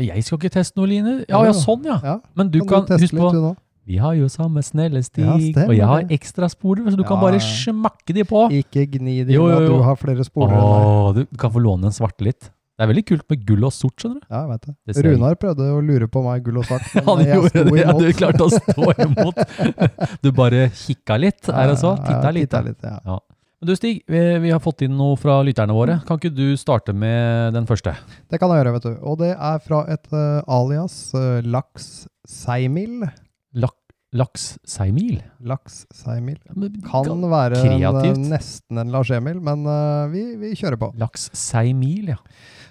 A: Jeg skal ikke teste noe, Line. Ja, ja,
E: Jo, jo.
A: sånn, ja.
E: Ja,
A: Men du kan,
E: teste
A: husk
E: litt,
A: på
E: du nå?
A: Vi har jo samme snelle stig,
E: Ja, stemmer
A: og jeg har
E: det.
A: ekstra spoler, så du kan
E: Ja,
A: bare
E: ja.
A: smakke de på.
E: Ikke gni det
A: Ah! Jo, jo,
E: inn at
A: jo.
E: du har flere spoler enn meg.
A: Åh, du kan få låne den svarte litt. Det er veldig kult med gull og sort, skjønner du.
E: Ja, jeg vet det.
A: Det ser jeg.
E: Runar prøvde å lure på meg gull og svart,
A: Han
E: men eh, jeg
A: gjorde
E: sto
A: det, ja,
E: imot.
A: du klarte å stå imot. Du bare kikka litt, er det så?
E: Ja,
A: Titta
E: ja,
A: litt.
E: titta
A: ja.
E: litt ja.
A: Men du Stig, vi, vi har fått inn noe fra lytterne våre. Kan ikke du starte med den første?
E: Det kan jeg gjøre, vet du. Og det er fra et eh, alias eh, Laks Seimil.
A: Lak, laks seimil?
E: Laks Seimil.
A: Ja, men
E: Kan
A: gal-
E: være en, eh,
A: kreativt.
E: nesten en Lars Emil, men eh, vi, vi kjører på.
A: Laks seimil, ja.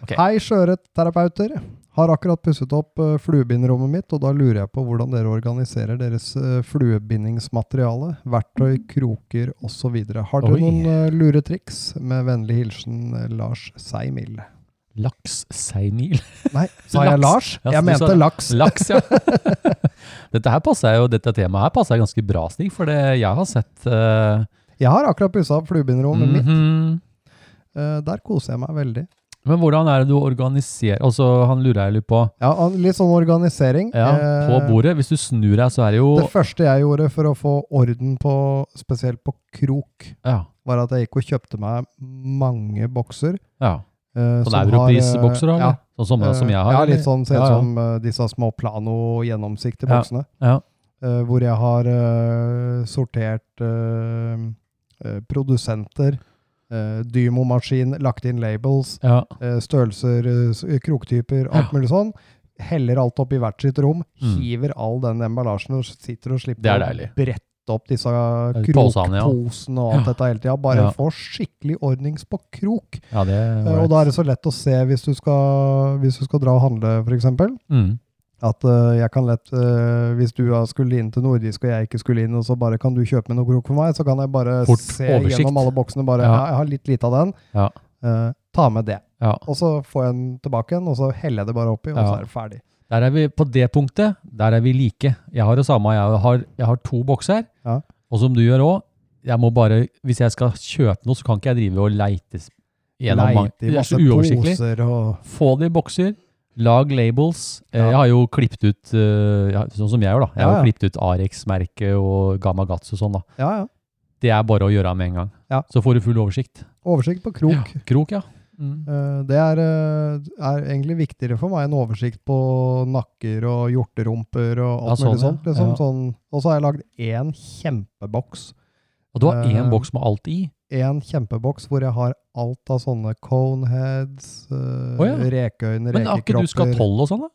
A: Ok.
E: Hei, sjøørretterapeuter. Har akkurat pusset opp eh, fluebindrommet mitt, og da lurer jeg på hvordan dere organiserer deres eh, fluebindingsmateriale. Verktøy, kroker osv. Har dere
A: Mm. Oi.
E: noen eh, lure triks? Med vennlig hilsen eh, Lars Seimil.
A: Laks seimil.
E: Nei, sa jeg
A: Laks.
E: Lars?
A: Ja,
E: Jeg
A: du sa
E: mente laks.
A: Laks, ja. dette her passer jo, dette temaet her passer ganske bra, Stig, for det jeg har sett eh,
E: Jeg har akkurat pussa opp fluebindrommet mitt.
A: mhm.
E: Eh, der koser jeg meg veldig.
A: Men hvordan er det du organiserer Altså, han lurer jeg litt på.
E: Ja, an- Litt sånn organisering.
A: Ja,
E: Eh,
A: på bordet. Hvis du snur deg, så er det jo
E: Det første jeg gjorde for å få orden på, spesielt på krok,
A: Ja.
E: var at jeg gikk og kjøpte meg mange bokser.
A: ja.
E: eh, som
A: Sånn
E: har, eh,
A: europrisbokser, da?
E: Ja. Eh,
A: eller? Sånn som, som jeg har?
E: Ja,
A: eller?
E: litt sånn ser ut
A: Ja, ja.
E: som eh, disse små plano-gjennomsiktige
A: Ja,
E: boksene.
A: ja.
E: eh, hvor jeg har eh, sortert eh, eh, produsenter, eh, Dymo-maskin, lagt inn labels,
A: Ja.
E: eh, størrelser, eh, s- kroktyper, alt mulig sånn. Heller alt opp i hvert sitt rom,
A: Mm.
E: hiver all den emballasjen og sitter og slipper
A: Det er
E: å
A: deilig.
E: brette opp disse
A: posene, ja.
E: krokposene og
A: Ja.
E: alt dette hele tida. Bare
A: Ja.
E: få skikkelig ordnings på krok.
A: ja, det
E: Eh,
A: var
E: Og da er det så lett å se hvis du skal, hvis du skal dra og handle, f.eks.
A: mm.
E: At eh, jeg kan lett eh, Hvis du da skulle inn til nordisk og jeg ikke skulle inn, og så bare kan du kjøpe med noe krok for meg, så kan jeg bare
A: Fort
E: se
A: oversikt.
E: gjennom alle boksene. Bare,
A: Ja.
E: ja. jeg har litt lite av den.
A: Ja.
E: Eh, ta med det.
A: ja.
E: Og så får jeg den tilbake igjen, og så heller jeg det bare oppi, og
A: Ja.
E: så er det ferdig.
A: Der er vi, på det punktet, der er vi like. Jeg har det samme, jeg har, jeg har to bokser,
E: Ja.
A: og som du gjør òg. Jeg må bare, Hvis jeg skal kjøpe noe, så kan ikke jeg drive og leite gjennom mange.
E: Leit i
A: Det er så
E: masse
A: uoversiktlig.
E: poser og
A: Få det i bokser. Lag labels. Eh,
E: Ja.
A: Jeg har jo klippet ut eh, ja, Sånn som jeg gjør, da. Jeg har
E: Ja,
A: jo
E: ja.
A: klippet ut Arex-merket og Gamagatsu og sånn, da.
E: Ja, ja.
A: Det er bare å gjøre med en gang.
E: Ja.
A: Så får du full oversikt.
E: Oversikt på krok.
A: Ja. Krok, ja. Mm.
E: Eh, Det er, eh, er egentlig viktigere for meg enn oversikt på nakker og hjorterumper og alt
A: Ja, sånn,
E: mulig sånt.
A: ja.
E: Liksom.
A: Ja.
E: Sånn. Og så har jeg lagd én kjempeboks.
A: Og du har én
E: Eh,
A: boks med alt i.
E: Én kjempeboks hvor jeg har alt av sånne coneheads, uh,
A: Å
E: rekeøyne,
A: Men har ikke
E: rekekropper
A: du skatoll og sånn, da?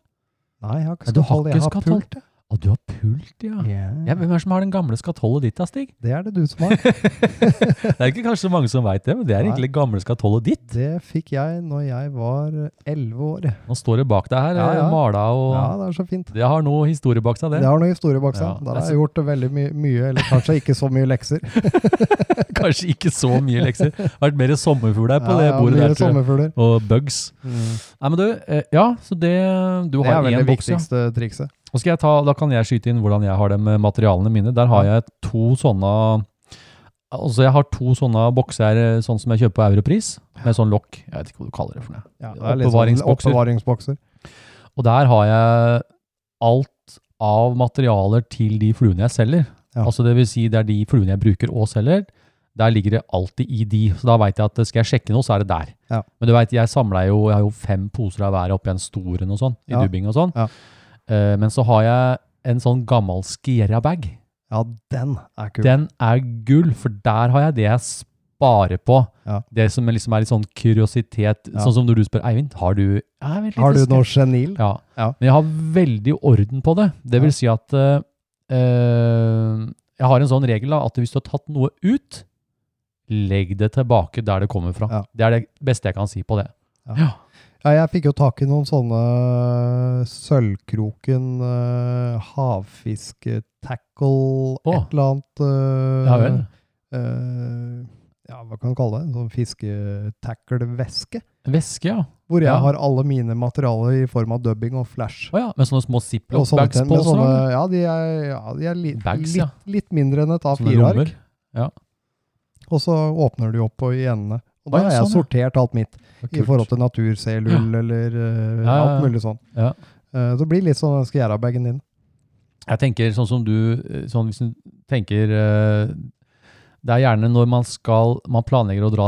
E: Nei, jeg har ikke
A: Nei, du har
E: skatoll. Jeg
A: ikke
E: har
A: skatoll.
E: pult. jeg.
A: Å, du har pult, ja. ja. Hvem er det som har den gamle skatollet ditt, da, Stig?
E: Det er det du som har.
A: Det er ikke kanskje mange som veit det, men det er
E: Nei.
A: egentlig gamle skatollet ditt.
E: Det fikk jeg når jeg var elleve år.
A: Nå står det bak deg her,
E: Ja,
A: eh,
E: ja.
A: mala og
E: Ja, det er så fint.
A: Det har noe historie bak seg, det.
E: Det har noen historie bak seg.
A: Ja,
E: Der
A: det er
E: har jeg gjort veldig my mye, eller kanskje ikke så mye lekser.
A: Kanskje ikke så mye lekser. Det har Vært mer sommerfugl her på
E: Ja,
A: det
E: ja,
A: bordet
E: mye
A: der, tror jeg.
E: sommerfugler.
A: Og bugs. Nei, men du, eh, ja, så det Du
E: Det er
A: har
E: vel
A: én
E: det
A: boks, ja.
E: viktigste trikset.
A: Og skal jeg ta, da kan jeg skyte inn hvordan jeg har det med materialene mine. Der har jeg to sånne Altså, jeg har to sånne bokser eh, sånn som jeg kjøper på Europris, med sånn lokk. Jeg vet ikke hva du kaller det for noe.
E: Ja, det er litt sånn
A: Oppbevaringsbokser.
E: oppbevaringsbokser.
A: Og der har jeg alt av materialer til de fluene jeg selger.
E: Ja.
A: Altså det vil si det er de fluene jeg bruker og selger. Der ligger det alltid i de. Så da veit jeg at skal jeg sjekke noe, så er det der.
E: Ja.
A: Men du veit, jeg samla jo Jeg har jo fem poser av hver oppi en stor en og sånn, i
E: Ja.
A: dubbing og sånn.
E: Ja.
A: Eh, men så har jeg en sånn gammel Skiera-bag.
E: Ja, den er kul.
A: Den er gull, for der har jeg det jeg sparer på.
E: Ja.
A: Det som liksom er litt sånn kuriositet.
E: Ja.
A: Sånn som når du spør Eivind, har du ja, jeg vet litt,
E: Har du
A: jeg skal-
E: noe genil?
A: ja.
E: Ja.
A: Men jeg har veldig orden på det. Det vil si at eh, eh, jeg har en sånn regel da, at hvis du har tatt noe ut, legg det tilbake der det kommer fra.
E: Ja.
A: Det er det beste jeg kan si på det.
E: Ja. Ja, jeg fikk jo tak i noen sånne eh, Sølvkroken uh, havfisketackle,
A: Å.
E: et eller annet eh,
A: Ja vel.
E: eh, ja, hva kan man kalle det? En sånn fisketackle-veske.
A: Væske, Eh, ja.
E: Hvor jeg
A: Ja.
E: har alle mine materialer i form av dubbing og flash.
A: Å ja. Med sånne små
E: Og sånne
A: ziplock-bags
E: ting
A: på
E: med
A: også,
E: sånne,
A: eller?
E: ja, de er, ja, de er li,
A: Bags,
E: litt,
A: ja.
E: litt mindre enn et
A: Sånne
E: A4-ark.
A: lommer.
E: Og så åpner du opp på i endene. Og da
A: Å, ja,
E: har jeg
A: sånn, ja.
E: sortert alt mitt i
A: Kult.
E: forhold til naturcellull eller eh,
A: Ja, ja,
E: alt
A: ja.
E: mulig sånn.
A: Ja.
E: Eh, det blir litt sånn den skjærabagen din.
A: Jeg tenker sånn som du eh, sånn Hvis du tenker eh, Det er gjerne når man skal Man planlegger å dra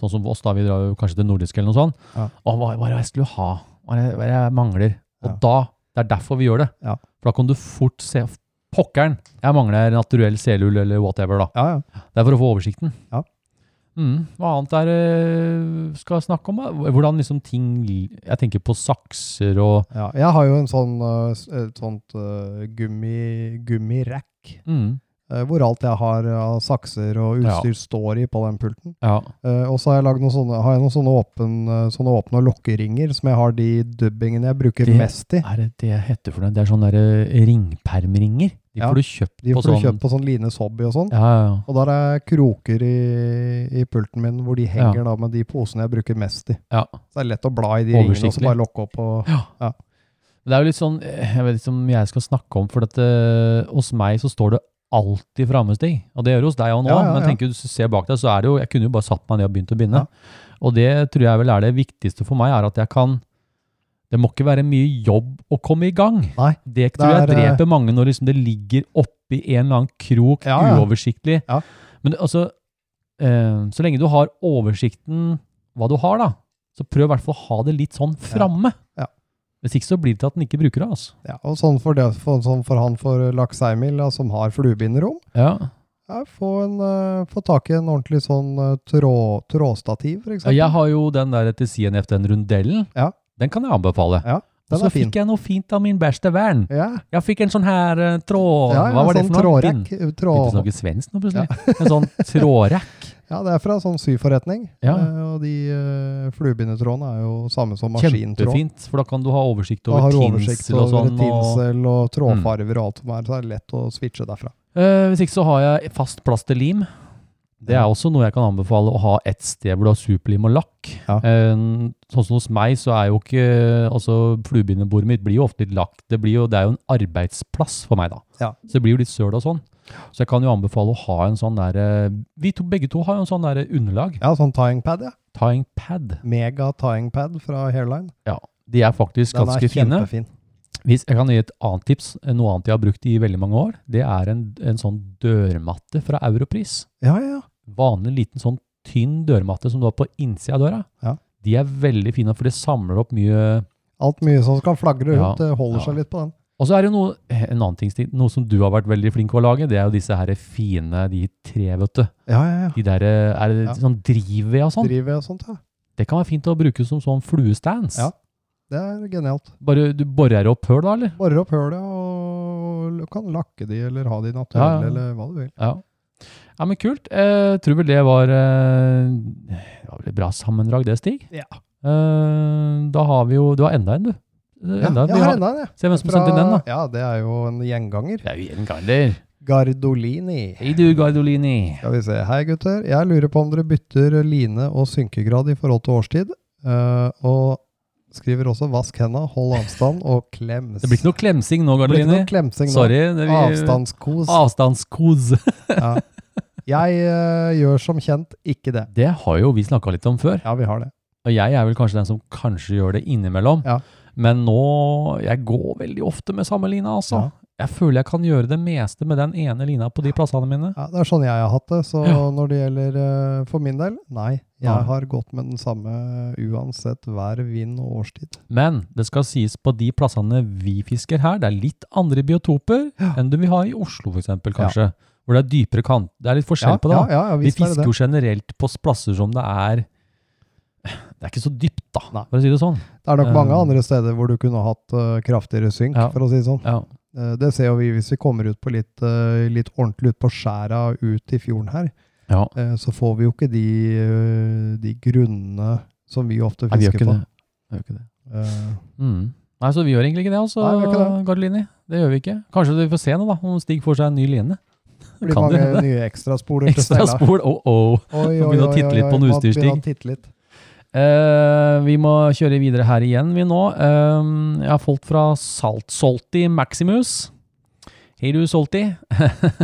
A: Sånn som oss da Vi drar jo kanskje til nordisk eller noe sånt
E: Ja.
A: Og hva, hva er det jeg skulle ha? Hva er det hva er det jeg mangler? Og
E: Ja.
A: da Det er derfor vi gjør det
E: Ja.
A: For da kan du fort se Pokkeren Jeg mangler naturell selull Eller whatever da
E: Ja, ja.
A: Det er for å få oversikten
E: Ja.
A: Mm, hva annet er eh, skal jeg snakke om? da? Hvordan liksom ting, jeg tenker på sakser og,
E: ja. Jeg har jo en sånn, eh, s- et sånt eh, gummi, gummirack,
A: mm,
E: eh, hvor alt jeg har av sakser og
A: Ja.
E: utstyr står i på den pulten.
A: ja,
E: Eh, og så har jeg lagd noen sånne, har jeg noen sånne, åpen, eh, sånne åpne lokkeringer som jeg har de dubbingene jeg bruker
A: Det
E: mest i.
A: er det det heter for noe? Det er sånne der, eh, ringpermringer. De
E: Ja,
A: får du kjøpt
E: De
A: på
E: får
A: sånn
E: du kjøpt på sånn Lines Hobby og sånn.
A: Ja, ja, ja.
E: Og der er kroker i, i pulten min hvor de henger
A: Ja.
E: da med de posene jeg bruker mest i.
A: Ja.
E: Så det er lett å bla i de ringene og så
A: Oversiktlig.
E: bare lokke opp og
A: Det er jo litt sånn eh, Jeg vet ikke om jeg skal snakke om, for at, eh, hos meg så står det alltid framme, Stig. Og det gjør det hos deg òg nå,
E: Ja, ja,
A: men
E: ja.
A: tenker du ser bak deg, så er det jo Jeg kunne jo bare satt meg ned og begynt å binde.
E: Ja.
A: Og det tror jeg vel er det viktigste for meg, er at jeg kan det må ikke være mye jobb å komme i gang.
E: Nei,
A: det tror jeg
E: det er, eh,
A: dreper mange når liksom det ligger oppi en eller annen krok,
E: Ja, ja.
A: uoversiktlig.
E: Ja.
A: Men altså, eh, så lenge du har oversikten hva du har, da, så prøv i hvert fall å ha det litt sånn framme.
E: Ja.
A: Hvis ikke så blir det til at den ikke bruker det. altså.
E: ja, og sånn for, det, for, sånn for han for Laks Eimil da, som har fluebinderom.
A: Ja.
E: Ja, få, en, eh, få tak i en ordentlig sånn eh, trå, trådstativ, for eksempel.
A: Jeg har jo den der til CNF, den rundellen.
E: Ja.
A: Den kan jeg anbefale.
E: Ja,
A: Og
E: den
A: så
E: er fin.
A: fikk jeg noe fint av min beste venn.
E: Ja,
A: Jeg fikk en sånn her eh, tråd...
E: ja, ja,
A: Hva var det
E: sånn
A: for noe? Bind-
E: trådrekk, eh,
A: Begynte å
E: Tråd,
A: snakke svensk nå plutselig. En sånn trådrekk.
E: ja, det er fra sånn syforretning.
A: Ja.
E: Eh, og de eh, fluebindetrådene er jo samme som maskintråd.
A: Kjempefint, for da kan du ha oversikt
E: Da
A: over
E: har du oversikt
A: tinsel og Mm.
E: over
A: sånn. Og,
E: tinsel og trådfarver og alt som er, så er det lett å switche derfra.
A: Eh, hvis ikke så har jeg fast plasterlim. Det er også noe jeg kan anbefale å ha et sted hvor du har superlim og lakk.
E: Ja.
A: Eh, sånn som hos meg, så er jo ikke Altså, fluebindebordet mitt blir jo ofte litt lakk. Det, blir jo, det er jo en arbeidsplass for meg, da.
E: Ja.
A: Så det blir jo litt søl og sånn. Så jeg kan jo anbefale å ha en sånn der eh, Vi to, begge to har jo en sånn der underlag.
E: Ja, sånn tying pad, ja.
A: Tying pad.
E: Mega tying pad fra Hairline.
A: De er faktisk
E: Den er
A: ganske fine.
E: kjempefin.
A: Hvis jeg kan gi et annet tips, eh, noe annet jeg har brukt i veldig mange år, det er en, en sånn dørmatte fra Europris.
E: Ja, ja, ja.
A: Vanlig liten sånn tynn dørmatte som du har på innsida av døra.
E: Ja.
A: De er veldig fine, for det samler opp mye
E: Alt mye som skal flagre
A: Ja,
E: rundt, eh, holder
A: ja.
E: seg litt på den.
A: Og så er det jo noe, en annen ting, Stig, noe som du har vært veldig flink til å lage, det er jo disse her fine, de tre, vet du.
E: Ja, ja, ja.
A: De der, eh, er det
E: Ja.
A: sånn drivved og sånn?
E: Driver og sånt, ja.
A: Det kan være fint å bruke som sånn fluestands.
E: Ja. Det er genialt.
A: Bare du borer opp høl da, eller?
E: Borer opp hølet og l- kan lakke de, eller ha de naturlig,
A: Ja, ja.
E: eller hva du vil.
A: Ja. Ja, men kult. Eh, tror vel det var, eh, det var vel et bra sammendrag det, Stig?
E: Ja.
A: Eh, da har vi jo, du har enda en, du. Eh, Enda en.
E: ja,
A: Vi
E: jeg har
A: har,
E: enda en, jeg.
A: se hvem som
E: Fra-
A: sendte inn den da.
E: Ja, det er jo en gjenganger.
A: Det er jo en garder.
E: Gardolini.
A: Hei du, Gardolini.
E: Skal vi se. Hei, gutter. Jeg lurer på om dere bytter line og synkegrad i forhold til årstid. Eh, og skriver også 'vask henda, hold avstand og klems'.
A: Det blir ikke noe klemsing nå,
E: Det blir ikke
A: Gardolini.
E: noe klemsing nå.
A: Sorry. det vi-
E: Avstandskos.
A: Avstandskos.
E: Ja. Jeg eh, gjør som kjent ikke det.
A: Det har jo vi snakka litt om før.
E: Ja, vi har det.
A: Og jeg er vel kanskje den som kanskje gjør det innimellom.
E: Ja.
A: Men nå Jeg går veldig ofte med samme lina, altså.
E: Ja.
A: Jeg føler jeg kan gjøre det meste med den ene lina på de plassene mine.
E: Ja, det er sånn jeg har hatt det. Så
A: Ja.
E: når det gjelder eh, for min del, nei. Jeg
A: Nei.
E: har gått med den samme uansett vær, vind og årstid.
A: Men det skal sies på de plassene vi fisker her, det er litt andre biotoper
E: Ja.
A: enn du vil ha i Oslo, f.eks., kanskje. Hvor det er dypere kant. Det er litt forskjell på det.
E: ja,
A: da.
E: ja, ja,
A: vi
E: visst er
A: fisker
E: det
A: jo
E: det.
A: generelt på plasser som det er Det er ikke så dypt, da, for å si det sånn.
E: Det er nok mange
A: Eh,
E: andre steder hvor du kunne hatt eh, kraftigere synk,
A: Ja.
E: for å si det sånn.
A: Ja.
E: Eh, Det ser jo vi hvis vi kommer ut på litt, eh, litt ordentlig ut på skjæra ut i fjorden her.
A: ja.
E: eh, Så får vi jo ikke de, eh, de grunnene som vi ofte
A: Nei, vi gjør
E: fisker
A: ikke
E: på.
A: det. Vi gjør ikke det.
E: Eh,
A: Mm. Nei, så vi gjør egentlig ikke det, altså,
E: Nei, vi gjør ikke
A: Gardolini. Det gjør vi ikke. Kanskje vi får se nå, da, om Stig får seg en ny line.
E: Det blir
A: Kan det
E: mange
A: hende.
E: nye ekstraspoler til
A: Ekstra
E: Stella.
A: spol, oh oh.
E: Oi,
A: Begynne å titte litt på noe
E: man
A: utstyr,
E: begynner
A: Stig.
E: å titte litt.
A: Eh, vi må kjøre videre her igjen, vi nå. Eh, jeg har fått fra Saltsolti Maximus. Hei du, Solti.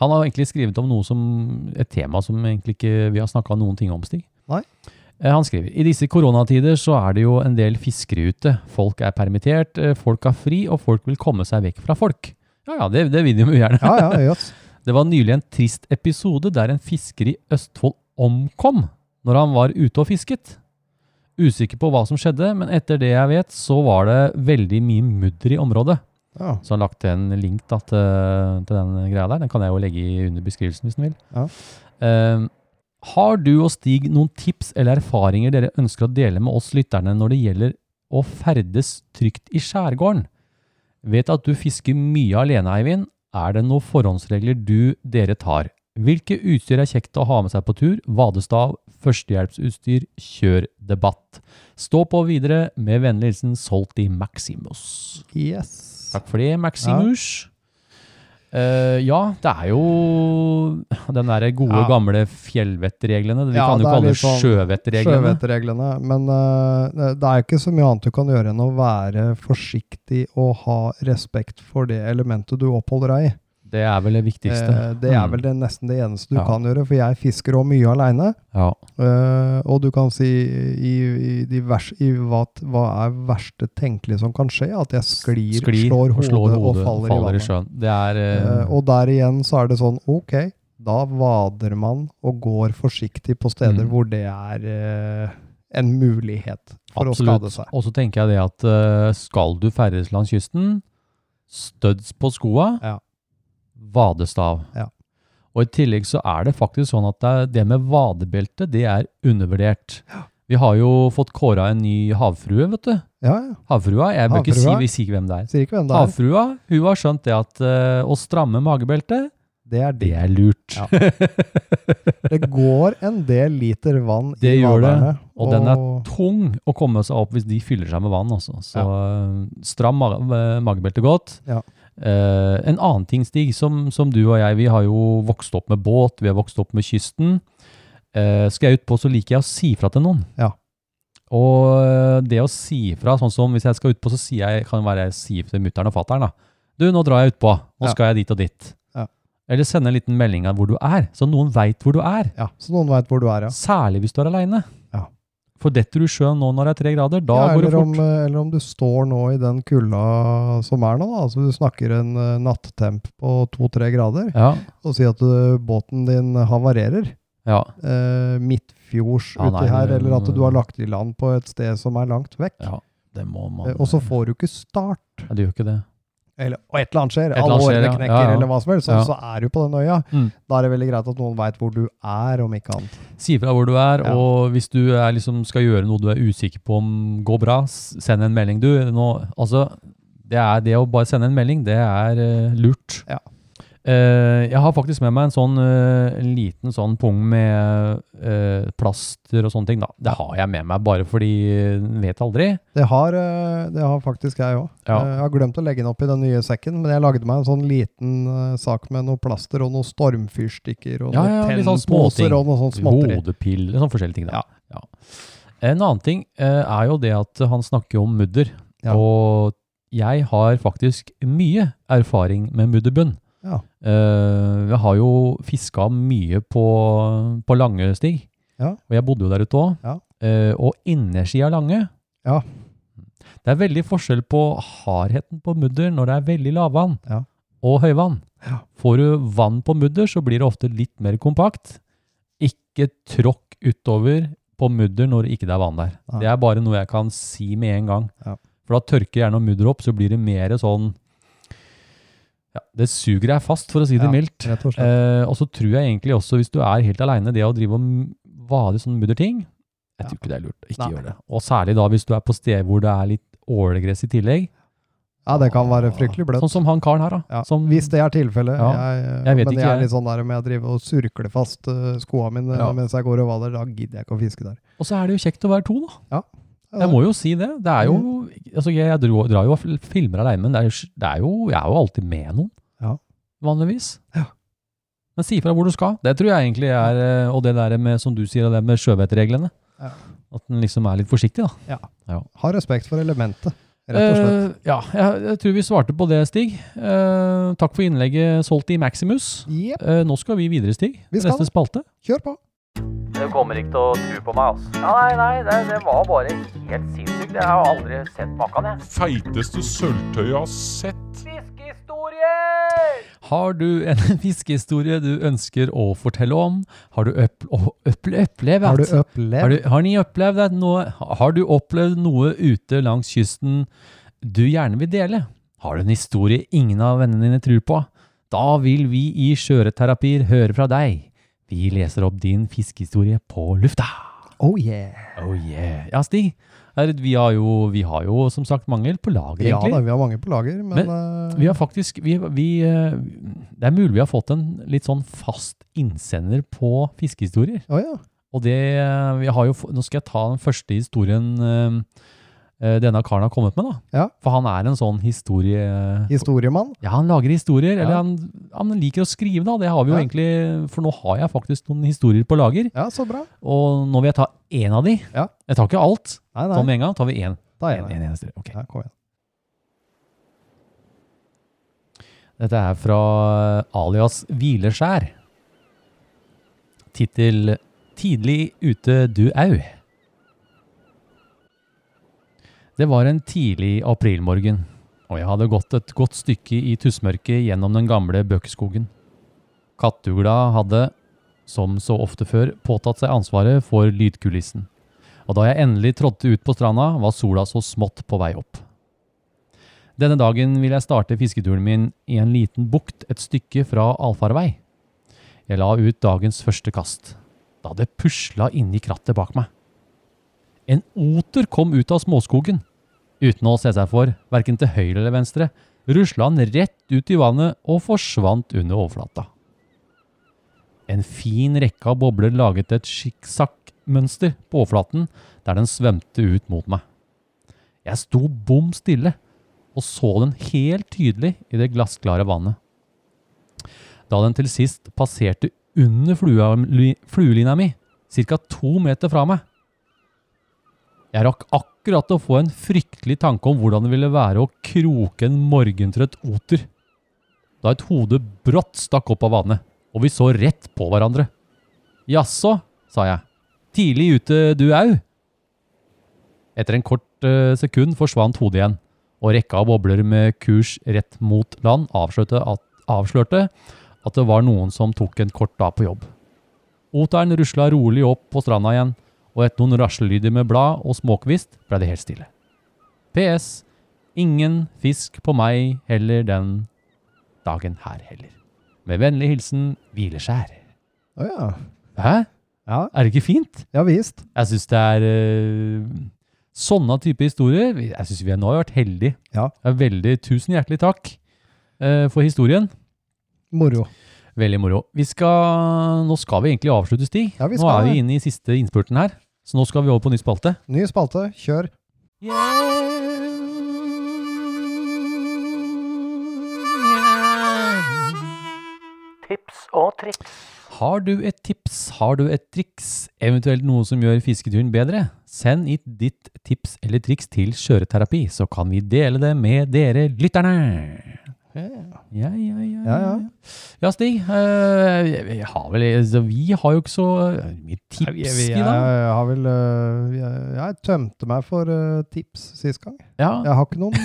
A: Han har egentlig skrevet om noe som, et tema som egentlig ikke vi har snakka noen ting om, Stig.
E: Nei.
A: Eh, Han skriver i disse koronatider så er det jo en del fiskere ute. Folk er permittert, eh, folk har fri, og folk vil komme seg vekk fra folk. Ja ja, det, det vil de jo gjerne.
E: Ja, ja, jøss.
A: Det var nylig en trist episode der en fisker i Østfold omkom når han var ute og fisket. Usikker på hva som skjedde, men etter det jeg vet, så var det veldig mye mudder i området.
E: Ja.
A: Så han lagt en link da, til, til den greia der. Den kan jeg jo legge i under beskrivelsen hvis du vil.
E: Ja.
A: Eh, har du og Stig noen tips eller erfaringer dere ønsker å dele med oss lytterne når det gjelder å ferdes trygt i skjærgården? Vet at du fisker mye alene, Eivind. Er det noen forhåndsregler du dere tar? Hvilke utstyr er kjekt å ha med seg på tur? Vadestav, førstehjelpsutstyr, kjør debatt. Stå på videre. Med vennlig hilsen Solti Maximus.
E: Yes.
A: Takk for det, Maximus. Eh, ja, det er jo den derre gode,
E: Ja.
A: gamle fjellvettreglene. Vi
E: Ja,
A: kan jo
E: det er
A: kalle det
E: litt sånn
A: sjøvettreglene.
E: Sjøvettreglene. Men eh, det er ikke så mye annet du kan gjøre enn å være forsiktig og ha respekt for det elementet du oppholder deg i.
A: Det er vel det viktigste.
E: Eh, det er
A: Mm.
E: vel det, nesten det eneste du
A: Ja.
E: kan gjøre, for jeg fisker òg mye aleine.
A: Ja.
E: Eh, og du kan si i, i, de vers, i hva, t- hva er verste tenkelig som kan skje? At jeg sklir,
A: Sklir
E: slår,
A: og
E: hodet,
A: slår hodet
E: og faller, i vannet.
A: sjøen. Det er eh,
E: Eh, og der igjen så er det sånn, ok, da vader man og går forsiktig på steder
A: Mm.
E: hvor det er eh, en mulighet for å skade
A: absolutt.
E: seg.
A: Og så tenker jeg det at eh, skal du ferdes langs kysten, støds på skoa,
E: Ja.
A: vadestav.
E: Ja.
A: Og i tillegg så er det faktisk sånn at det, er- det med vadebelte, det er undervurdert. Vi har jo fått kåra en ny havfrue, vet du.
E: Ja, ja.
A: Havfrua, jeg bør ikke si,
E: Havfrua?
A: vi sier ikke hvem det er.
E: Sier ikke hvem det er.
A: Havfrua, hun har skjønt det at eh, å stramme magebeltet,
E: Det er
A: det
E: det.
A: er lurt.
E: Ja. Det går en del liter vann
A: Det
E: i
A: gjør det,
E: vaderne.
A: og den er Tung å komme seg opp hvis de fyller seg med vann, altså. Så eh, stram ma eh, magebeltet godt.
E: Ja.
A: Eh, en annen ting, Stig, som, som du og jeg, vi har jo vokst opp med båt, vi har vokst opp med kysten. Eh, skal jeg ut på, så liker jeg å si fra til noen.
E: Ja.
A: Og eh, det å si fra, sånn som hvis jeg skal ut på, så sier jeg, kan det være jeg sier til mutteren og fatteren da. Du, nå drar jeg ut på, nå
E: Ja.
A: skal jeg dit og dit.
E: Ja.
A: Eller sende en liten melding av hvor du er, så noen veit hvor du er.
E: Ja, så noen veit hvor du er, ja.
A: Særlig hvis du er aleine.
E: Ja.
A: For detter du i sjøen nå når det er tre grader, da
E: ja
A: går det
E: eller,
A: fort.
E: om, eh, eller om du står nå i den kulda som er nå, da. Altså du snakker en eh, nattemp på to-tre grader,
A: Ja,
E: og sier at eh, båten din havarerer
A: ja.
E: eh, midtfjords
A: Ja, nei,
E: uti her,
A: men-
E: eller at du har lagt i land på et sted som er langt vekk.
A: ja. Det må man
E: Eh, Og så får du ikke start,
A: Nei, Det gjør ikke det.
E: eller og et eller annet skjer,
A: eller
E: alle
A: annet skjer,
E: årene
A: ja.
E: knekker,
A: Ja, ja.
E: eller hva som helst, så,
A: Ja.
E: så er du på den øya.
A: Mm.
E: Da er det veldig greit at noen veit hvor du er, om ikke annet.
A: Si fra hvor du er,
E: Ja.
A: og hvis du er liksom skal gjøre noe du er usikker på om går bra, s- send en melding, du. Nå, altså, det, er det å bare sende en melding, det er eh, lurt.
E: Ja.
A: Eh, jeg har faktisk med meg en sånn eh, liten sånn pung med eh, plaster og sånne ting. Da. Det har jeg med meg bare fordi eh, en vet aldri.
E: Det har, eh, det har faktisk jeg òg.
A: Ja.
E: Jeg har glemt å legge den opp i den nye sekken, men jeg lagde meg en sånn liten eh, sak med noe plaster og noen stormfyrstikker og
A: Ja,
E: noen
A: ja, litt sånn
E: tennposer
A: småting.
E: og noe sånt småtteri.
A: Hodepiller, sånn forskjellige ting. Da. Ja. En annen ting eh, er jo det at han snakker om mudder.
E: Ja.
A: Og jeg har faktisk mye erfaring med mudderbunn.
E: Ja.
A: Eh, jeg har jo fiska mye på, på Langestig.
E: Ja.
A: Og jeg bodde jo der ute òg.
E: Ja.
A: og innersida av Lange
E: Ja.
A: Det er veldig forskjell på hardheten på mudder når det er veldig lavvann
E: Ja.
A: og høyvann.
E: Ja.
A: Får du vann på mudder, så blir det ofte litt mer kompakt. Ikke tråkk utover på mudder når det ikke er vann der.
E: Nei.
A: Det er bare noe jeg kan si med en gang.
E: Ja.
A: For da tørker gjerne mudder opp, så blir det mer sånn ja, Det suger deg fast, for å si det
E: Ja.
A: mildt.
E: Rett og slett.
A: Eh, og så tror jeg egentlig også, hvis du er helt aleine, det å drive og m- vade sånne mudderting Jeg
E: Ja.
A: tror ikke det er lurt. Ikke
E: Nei.
A: gjør det. Og særlig da hvis du er på steder hvor det er litt ålegress i tillegg.
E: Ja, det kan være fryktelig bløtt.
A: Sånn som han karen her, da.
E: Ja,
A: Som,
E: Hvis det er tilfellet.
A: Ja,
E: Jeg,
A: jeg vet
E: men
A: ikke,
E: jeg er
A: jeg.
E: litt sånn der med å drive og surkle fast eh, skoa mine
A: Ja.
E: mens jeg går og vader. Da gidder jeg ikke å fiske der.
A: og så er det jo kjekt å være to, da.
E: Ja, Mm.
A: Jeg må jo si det. Det er jo altså Jeg, jeg dro, drar jo og fil- filmer aleine, men det er, jo s- det er jo, jeg er jo alltid med noen.
E: Ja.
A: Vanligvis.
E: Ja.
A: Men si fra hvor du skal. Det tror jeg egentlig er eh, Og det der med, som du sier, det med sjøvettreglene.
E: Ja.
A: At en liksom er litt forsiktig, da.
E: Ha respekt for elementet, rett og
A: Eh,
E: slett.
A: ja, jeg, jeg tror vi svarte på det, Stig. Eh, takk for innlegget, Solti Maximus.
E: Jepp,
A: Eh, nå skal vi videre, Stig.
E: Vi skal
A: Neste
E: det.
A: spalte.
E: kjør på!
B: Du kommer ikke til å tro på meg, altså. Ja, nei, nei, det, det var bare helt sinnssykt. Jeg har aldri sett maken, jeg.
C: Feiteste sølvtøyet jeg har sett.
B: Fiskehistorier!
A: Har du en fiskehistorie du ønsker å fortelle om? Har du øpp- å- øpple- opplevd
E: Har du
A: har,
E: opplevd?
A: du, har ni opplevd at noe Har du opplevd noe ute langs kysten du gjerne vil dele? Har du en historie ingen av vennene dine tror på? Da vil vi i Skjøreterapier høre fra deg. Vi leser opp din fiskehistorie på lufta.
E: Oh yeah!
A: Oh yeah. Ja, Stig. Her, vi, har jo, vi har jo som sagt mangel på lager,
E: Ja da,
A: egentlig.
E: vi har mange på lager, men, eh,
A: vi har faktisk vi, vi, eh, Det er mulig vi har fått en litt sånn fast innsender på fiskehistorier.
E: Å ja.
A: Og det eh, vi har jo, få- Nå skal jeg ta den første historien eh, eh, denne karen har kommet med. da.
E: Ja.
A: For han er en sånn historie...
E: Historiemann.
A: Ja, han lager historier. Eller
E: Ja.
A: han, han liker å skrive, da. Det har vi jo
E: Ja.
A: egentlig For nå har jeg faktisk noen historier på lager.
E: Ja, så bra.
A: Og nå vil jeg ta én av de.
E: Ja.
A: Jeg tar ikke alt.
E: Nei,
A: Ta
E: nei.
A: med en gang. tar vi én.
E: Da er
A: En,
E: jeg
A: en
E: enig.
A: eneste. Ok.
E: Ah, Ja, kom igjen.
A: Dette er fra eh, alias Hvileskjær. Tittel Tidlig ute du au. Det var en tidlig aprilmorgen, og jeg hadde gått et godt stykke i tussmørket gjennom den gamle bøkeskogen. Kattugla hadde, som så ofte før, påtatt seg ansvaret for lydkulissen, og da jeg endelig trådte ut på stranda, var sola så smått på vei opp. Denne dagen vil jeg starte fisketuren min i en liten bukt et stykke fra allfarvei. Jeg la ut dagens første kast, da det pusla inni krattet bak meg. En oter kom ut av småskogen. Uten å se seg for, verken til høyre eller venstre, rusla han rett ut i vannet og forsvant under overflata. En fin rekke av bobler laget et sikksakk-mønster på overflaten der den svømte ut mot meg. Jeg sto bom stille og så den helt tydelig i det glassklare vannet. Da den til sist passerte under flua, li- fluelina mi, ca. to meter fra meg. Jeg rakk akkurat å få en fryktelig tanke om hvordan det ville være å kroke en morgentrøtt oter. da et hode brått stakk opp av vannet, og vi så rett på hverandre. Jaså, sa jeg. Tidlig ute du au? Etter en kort eh, sekund forsvant hodet igjen, og rekka av bobler med kurs rett mot land avslørte at, avslørte at det var noen som tok en kort dag på jobb. Oteren rusla rolig opp på stranda igjen, og etter noen raslelyder med blad og småkvist ble det helt stille. PS. Ingen fisk på meg heller den dagen her heller. Med vennlig hilsen Hvileskjær.
E: Å ja.
A: Hæ?
E: Ja,
A: Er det ikke fint?
E: ja visst.
A: Jeg syns det er eh, sånne type historier vi- Jeg syns vi har nå har vært heldige.
E: Ja.
A: Det er veldig tusen hjertelig takk eh, for historien.
E: Moro.
A: Veldig moro. Vi skal, nå skal vi egentlig avslutte, Stig.
E: Ja, vi
A: nå
E: skal
A: er
E: det.
A: vi inne i siste innspurten her. Så nå skal vi over på ny spalte.
E: Ny spalte, kjør.
B: Tips og triks.
A: Har du et tips, har du et triks, eventuelt noe som gjør fisketuren bedre? Send hit ditt tips eller triks til Skjøreterapi, så kan vi dele det med dere lytterne. Ja, ja, ja.
E: Ja, ja.
A: Ja, Stig. eh, jeg- jeg har vel, altså, vi har jo ikke så eh, mye tips
E: Jeg,
A: i dag.
E: jeg, jeg eh, har vel øh, jeg, jeg tømte meg for øh, tips sist gang.
A: Ja,
E: Jeg har ikke noen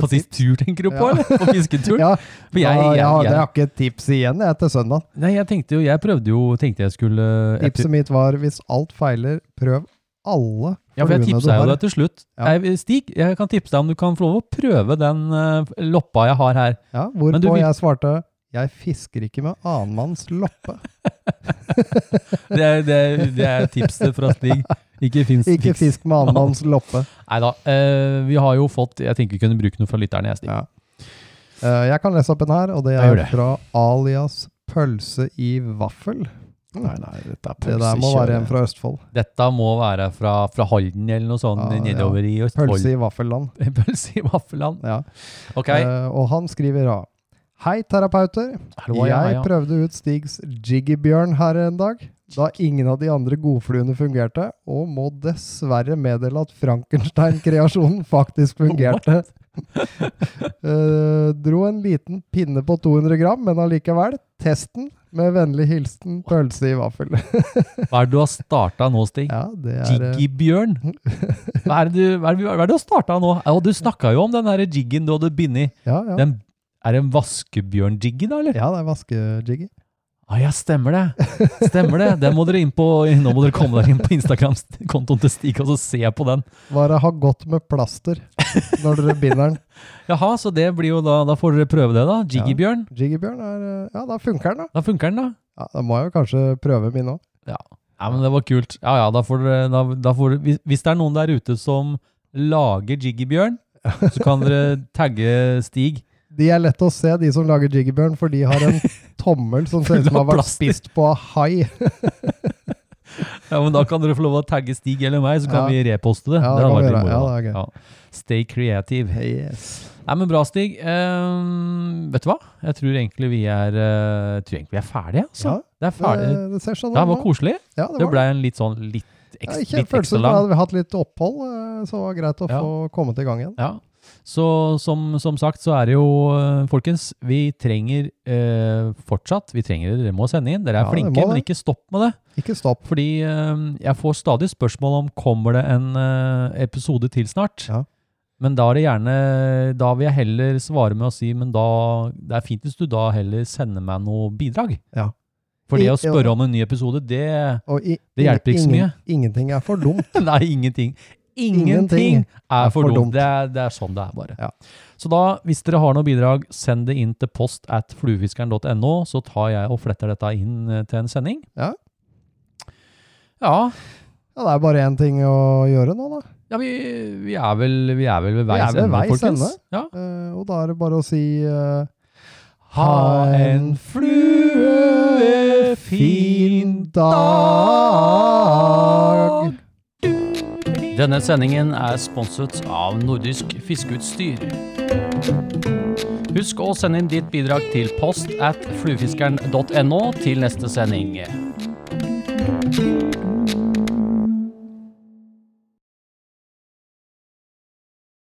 A: På sist tur, tenker du på?
E: Ja.
A: eller? På fisketuren?
E: Ja,
A: For
E: jeg,
A: jeg,
E: jeg,
A: jeg,
E: har-
A: jeg,
E: jeg har ikke et tips igjen jeg, til søndag.
A: nei, jeg tenkte jo, jeg prøvde jo, tenkte jeg skulle eh, jeg
E: Tipset mitt var hvis alt feiler, prøv alle
A: Ja, for jeg
E: fluene
A: tipsa jo
E: har.
A: deg til slutt.
E: Ja.
A: Jeg, Stig, jeg kan tipse deg om du kan få lov å prøve den eh, loppa jeg har her.
E: Ja,
A: Men du
E: hvorpå
A: vil-
E: jeg svarte jeg fisker ikke med annenmanns loppe.
A: Det er, det er, det er tipset fra Stig. Ikke fins
E: Ikke fisk med annenmanns loppe.
A: Nei da. eh, vi har jo fått Jeg tenker vi kunne bruke noe fra lytterne, jeg, Stig.
E: Ja. Eh, jeg kan lese opp en her, og det
A: Ja, gjør
E: er
A: det.
E: fra alias Pølse i vaffel.
A: Nei, nei, dette er
E: Det der må være en fra Østfold.
A: Dette må være fra, fra Halden eller noe sånt eh,
E: Ja, ja.
A: nedover i Østfold.
E: Pølse i vaffelland.
A: Pølse i vaffelland.
E: Ja.
A: Ok.
E: Eh, og han skriver da Hei, terapeuter.
A: Hallo, ja,
E: jeg
A: ja.
E: prøvde ut Stigs jiggybjørn her en dag, da ingen av de andre godfluene fungerte, og må dessverre meddele at Frankenstein-kreasjonen faktisk fungerte. Eh, dro en liten pinne på 200 gram, men allikevel. Testen med vennlig hilsen pølse i vaffel.
A: Hva er det du har starta nå, Stig?
E: ja, det er eh,
A: Jiggybjørn? Hva er det du, hva er det, vi- hva er det du har starta nå? Og du snakka jo om den der jiggen du hadde bindet.
E: eh, ja, ja.
A: Den, er det en vaskebjørn-jiggy da, eller?
E: ja, det er vaskejiggy.
A: Ah, ja, stemmer det. Stemmer det. Den må dere inn på, nå må dere komme dere inn på Instagram-kontoen til Stig og så se på den.
E: Bare ha godt med plaster når dere binder den.
A: Jaha, så det blir jo da, da får dere prøve det da. Jiggybjørn.
E: Jiggybjørn er eh, Ja, da funker den, da.
A: Da funker den da.
E: Ja, Da må jeg jo kanskje prøve min òg.
A: Ja, men det var kult. Ja, ja, da får dere, da, da får dere hvis, hvis det er noen der ute som lager Jiggybjørn, så kan dere tagge Stig.
E: De er lett å se, de som lager jiggybjørn, for de har en tommel som ser ut
A: Full
E: som har
A: av
E: vært
A: plaster.
E: spist på av hai.
A: Ja, men da kan dere få lov å tagge Stig eller meg, så kan
E: Ja.
A: vi reposte det. det
E: Ja, det
A: hadde
E: kan vi
A: vært litt
E: gjøre.
A: moro,
E: Ja, det er
A: da. Ja. Stay creative.
E: Yes.
A: Nei, men bra, Stig. Ehm, vet du hva? Jeg tror egentlig vi er, eh, tror egentlig vi er ferdige. Altså.
E: Ja,
A: det er
E: Det,
A: ferdig. Det,
E: det ser sånn
A: var
E: nå.
A: koselig.
E: Ja,
A: Det
E: det var
A: ble en litt sånn litt,
E: ja,
A: ekst,
E: ikke
A: litt ekstra
E: følelsen for
A: lang.
E: hadde vi hatt litt opphold, eh, så var det greit å
A: Ja.
E: få komme til gang igjen.
A: Ja. Så som, som sagt så er det jo, eh, folkens, vi trenger eh, fortsatt, vi trenger dere må sende inn. Dere er
E: Ja, det
A: flinke,
E: må
A: men
E: det.
A: ikke stopp med det.
E: Ikke stopp.
A: Fordi eh, jeg får stadig spørsmål om kommer det en eh, episode til snart.
E: Ja.
A: Men da er det gjerne Da vil jeg heller svare med å si Men da Det er fint hvis du da heller sender meg noe bidrag.
E: Ja.
A: For det
E: I-
A: å spørre om en ny episode, det
E: Og i,
A: Det hjelper ikke så
E: ingen- Ingenting er for dumt.
A: Nei, ingenting. Ingenting
E: Ingenting
A: er for
E: for
A: dumt.
E: dumt.
A: Det er, det er sånn det er, bare.
E: Ja.
A: Så da, hvis dere har noe bidrag, send det inn til post at fluefiskeren.no, så tar jeg og fletter dette inn eh, til en sending.
E: Ja.
A: Ja,
E: Ja, det er bare én ting å gjøre nå, da.
A: ja vi, vi, er vel, vi er vel ved
E: Vi er
A: veis
E: ved
A: ende,
E: veis
A: folkens.
E: ende.
A: Ja.
E: Eh, Og da er det bare å si eh,
A: Ha en fluefin dag! Denne sendingen er sponset av Nordisk Fiskeutstyr. Husk å sende inn ditt bidrag til post at fluefiskeren.no til neste sending.